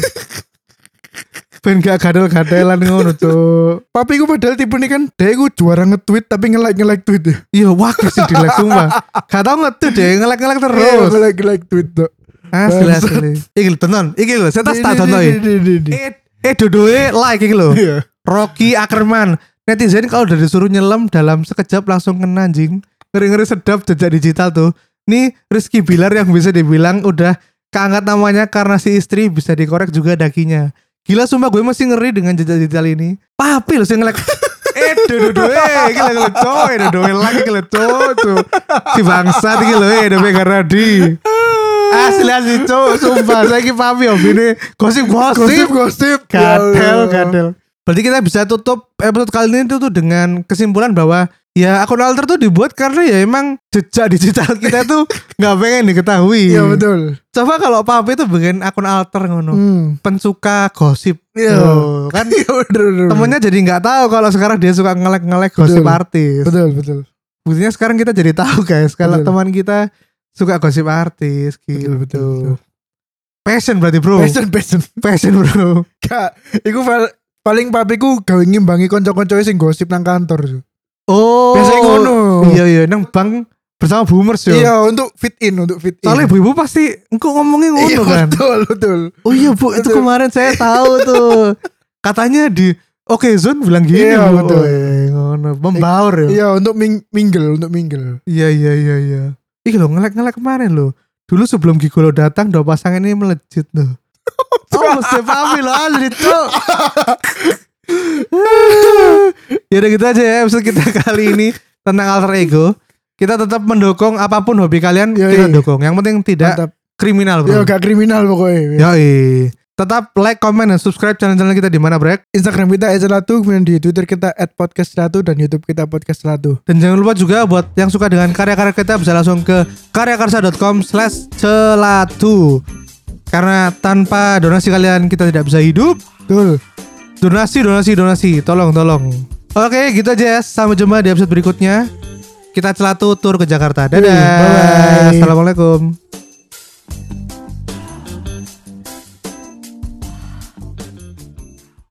Speaker 1: ben gak gadel-gadelan ngono cuk
Speaker 2: Papi gue padahal tipe nih kan Dia gue juara nge-tweet Tapi nge-like nge-like tweet ya
Speaker 1: iya wakil sih dilek sumpah gak tau ngetu deh ngelek ngelek terus
Speaker 2: Nge-like nge-like Iya, tweet tuh
Speaker 1: asli asli iki lho, tenan iki lho saya tas tak tonton iki. eh eh dodoe like iki lho
Speaker 2: Iya
Speaker 1: Rocky Ackerman netizen kalau udah disuruh nyelam dalam sekejap langsung kena anjing ngeri-ngeri sedap jejak digital tuh nih Rizky Bilar yang bisa dibilang udah keangkat namanya karena si istri bisa dikorek juga dakinya gila sumpah gue masih ngeri dengan jejak digital ini papi loh sih ngelek eh dodo dodo eh gila gila coy dodo lagi gila coy tuh si bangsa tinggi loh eh dodo karena di asli asli coy sumpah saya ki papi hobi ini gosip gosip
Speaker 2: Gosip-gosip
Speaker 1: Gadel,
Speaker 2: Ya Allah.
Speaker 1: gadel. Berarti kita bisa tutup episode kali ini tuh, tuh dengan kesimpulan bahwa ya akun alter tuh dibuat karena ya emang jejak digital kita tuh nggak pengen diketahui.
Speaker 2: Iya betul
Speaker 1: Coba kalau Papi tuh bikin akun alter ngono,
Speaker 2: Hmm.
Speaker 1: pensuka gosip.
Speaker 2: Iya.
Speaker 1: Tuh, kan
Speaker 2: Iya bener bener, bener.
Speaker 1: temennya jadi nggak tahu kalau sekarang dia suka ngelek-ngelek gosip
Speaker 2: Betul.
Speaker 1: artis.
Speaker 2: Betul betul
Speaker 1: Buktinya sekarang kita jadi tahu guys kalau
Speaker 2: Betul.
Speaker 1: teman kita suka gosip artis gitu.
Speaker 2: Betul betul
Speaker 1: Passion berarti bro.
Speaker 2: Passion passion
Speaker 1: Passion, Oh. bro.
Speaker 2: Kak Iku val- paling papiku gawe ngimbangi konco-konco sing gosip nang kantor Su.
Speaker 1: Oh.
Speaker 2: Biasanya ngono
Speaker 1: Iya iya nang bang bersama boomers yo.
Speaker 2: Iya untuk fit in Untuk fit in
Speaker 1: Soalnya ibu-ibu pasti engkau ngomongin
Speaker 2: Iya
Speaker 1: ngono kan.
Speaker 2: betul betul
Speaker 1: Oh iya bu, itu
Speaker 2: Betul.
Speaker 1: kemarin saya tahu tuh. Katanya di Oke Zone bilang gini
Speaker 2: Iya,
Speaker 1: Bu.
Speaker 2: betul.
Speaker 1: Oh, iya, ngono. Membaur ya.
Speaker 2: Iya untuk ming- mingle Untuk mingle
Speaker 1: Iya iya iya iya. Ih lo ngelek-ngelek kemarin lo. Dulu sebelum Gigolo datang dua pasangan ini melejit loh. oh mesti pahami lo asli tuh. ya udah gitu aja ya episode kita kali ini tentang alter ego. Kita tetap mendukung apapun hobi kalian
Speaker 2: Yoi.
Speaker 1: kita dukung. Yang penting tidak
Speaker 2: Iya, Mantap Iya,
Speaker 1: kriminal bro.
Speaker 2: Yo gak kriminal
Speaker 1: Iya.
Speaker 2: pokoknya
Speaker 1: Yoi. Tetap like, comment, dan subscribe channel-channel kita di mana Brek.
Speaker 2: Instagram kita @celatu, kemudian di Twitter kita @podcast1 dan YouTube kita podcast1.
Speaker 1: Dan jangan lupa juga buat yang suka dengan karya-karya kita bisa langsung ke karyakarsa.com slash celatu. Karena tanpa donasi kalian kita tidak bisa hidup.
Speaker 2: Betul.
Speaker 1: Donasi, donasi, donasi. Tolong, tolong. Oke, gitu aja. Sampai jumpa di episode berikutnya. Kita celatu tur ke Jakarta. Dadah.
Speaker 2: Bye-bye.
Speaker 1: Assalamualaikum.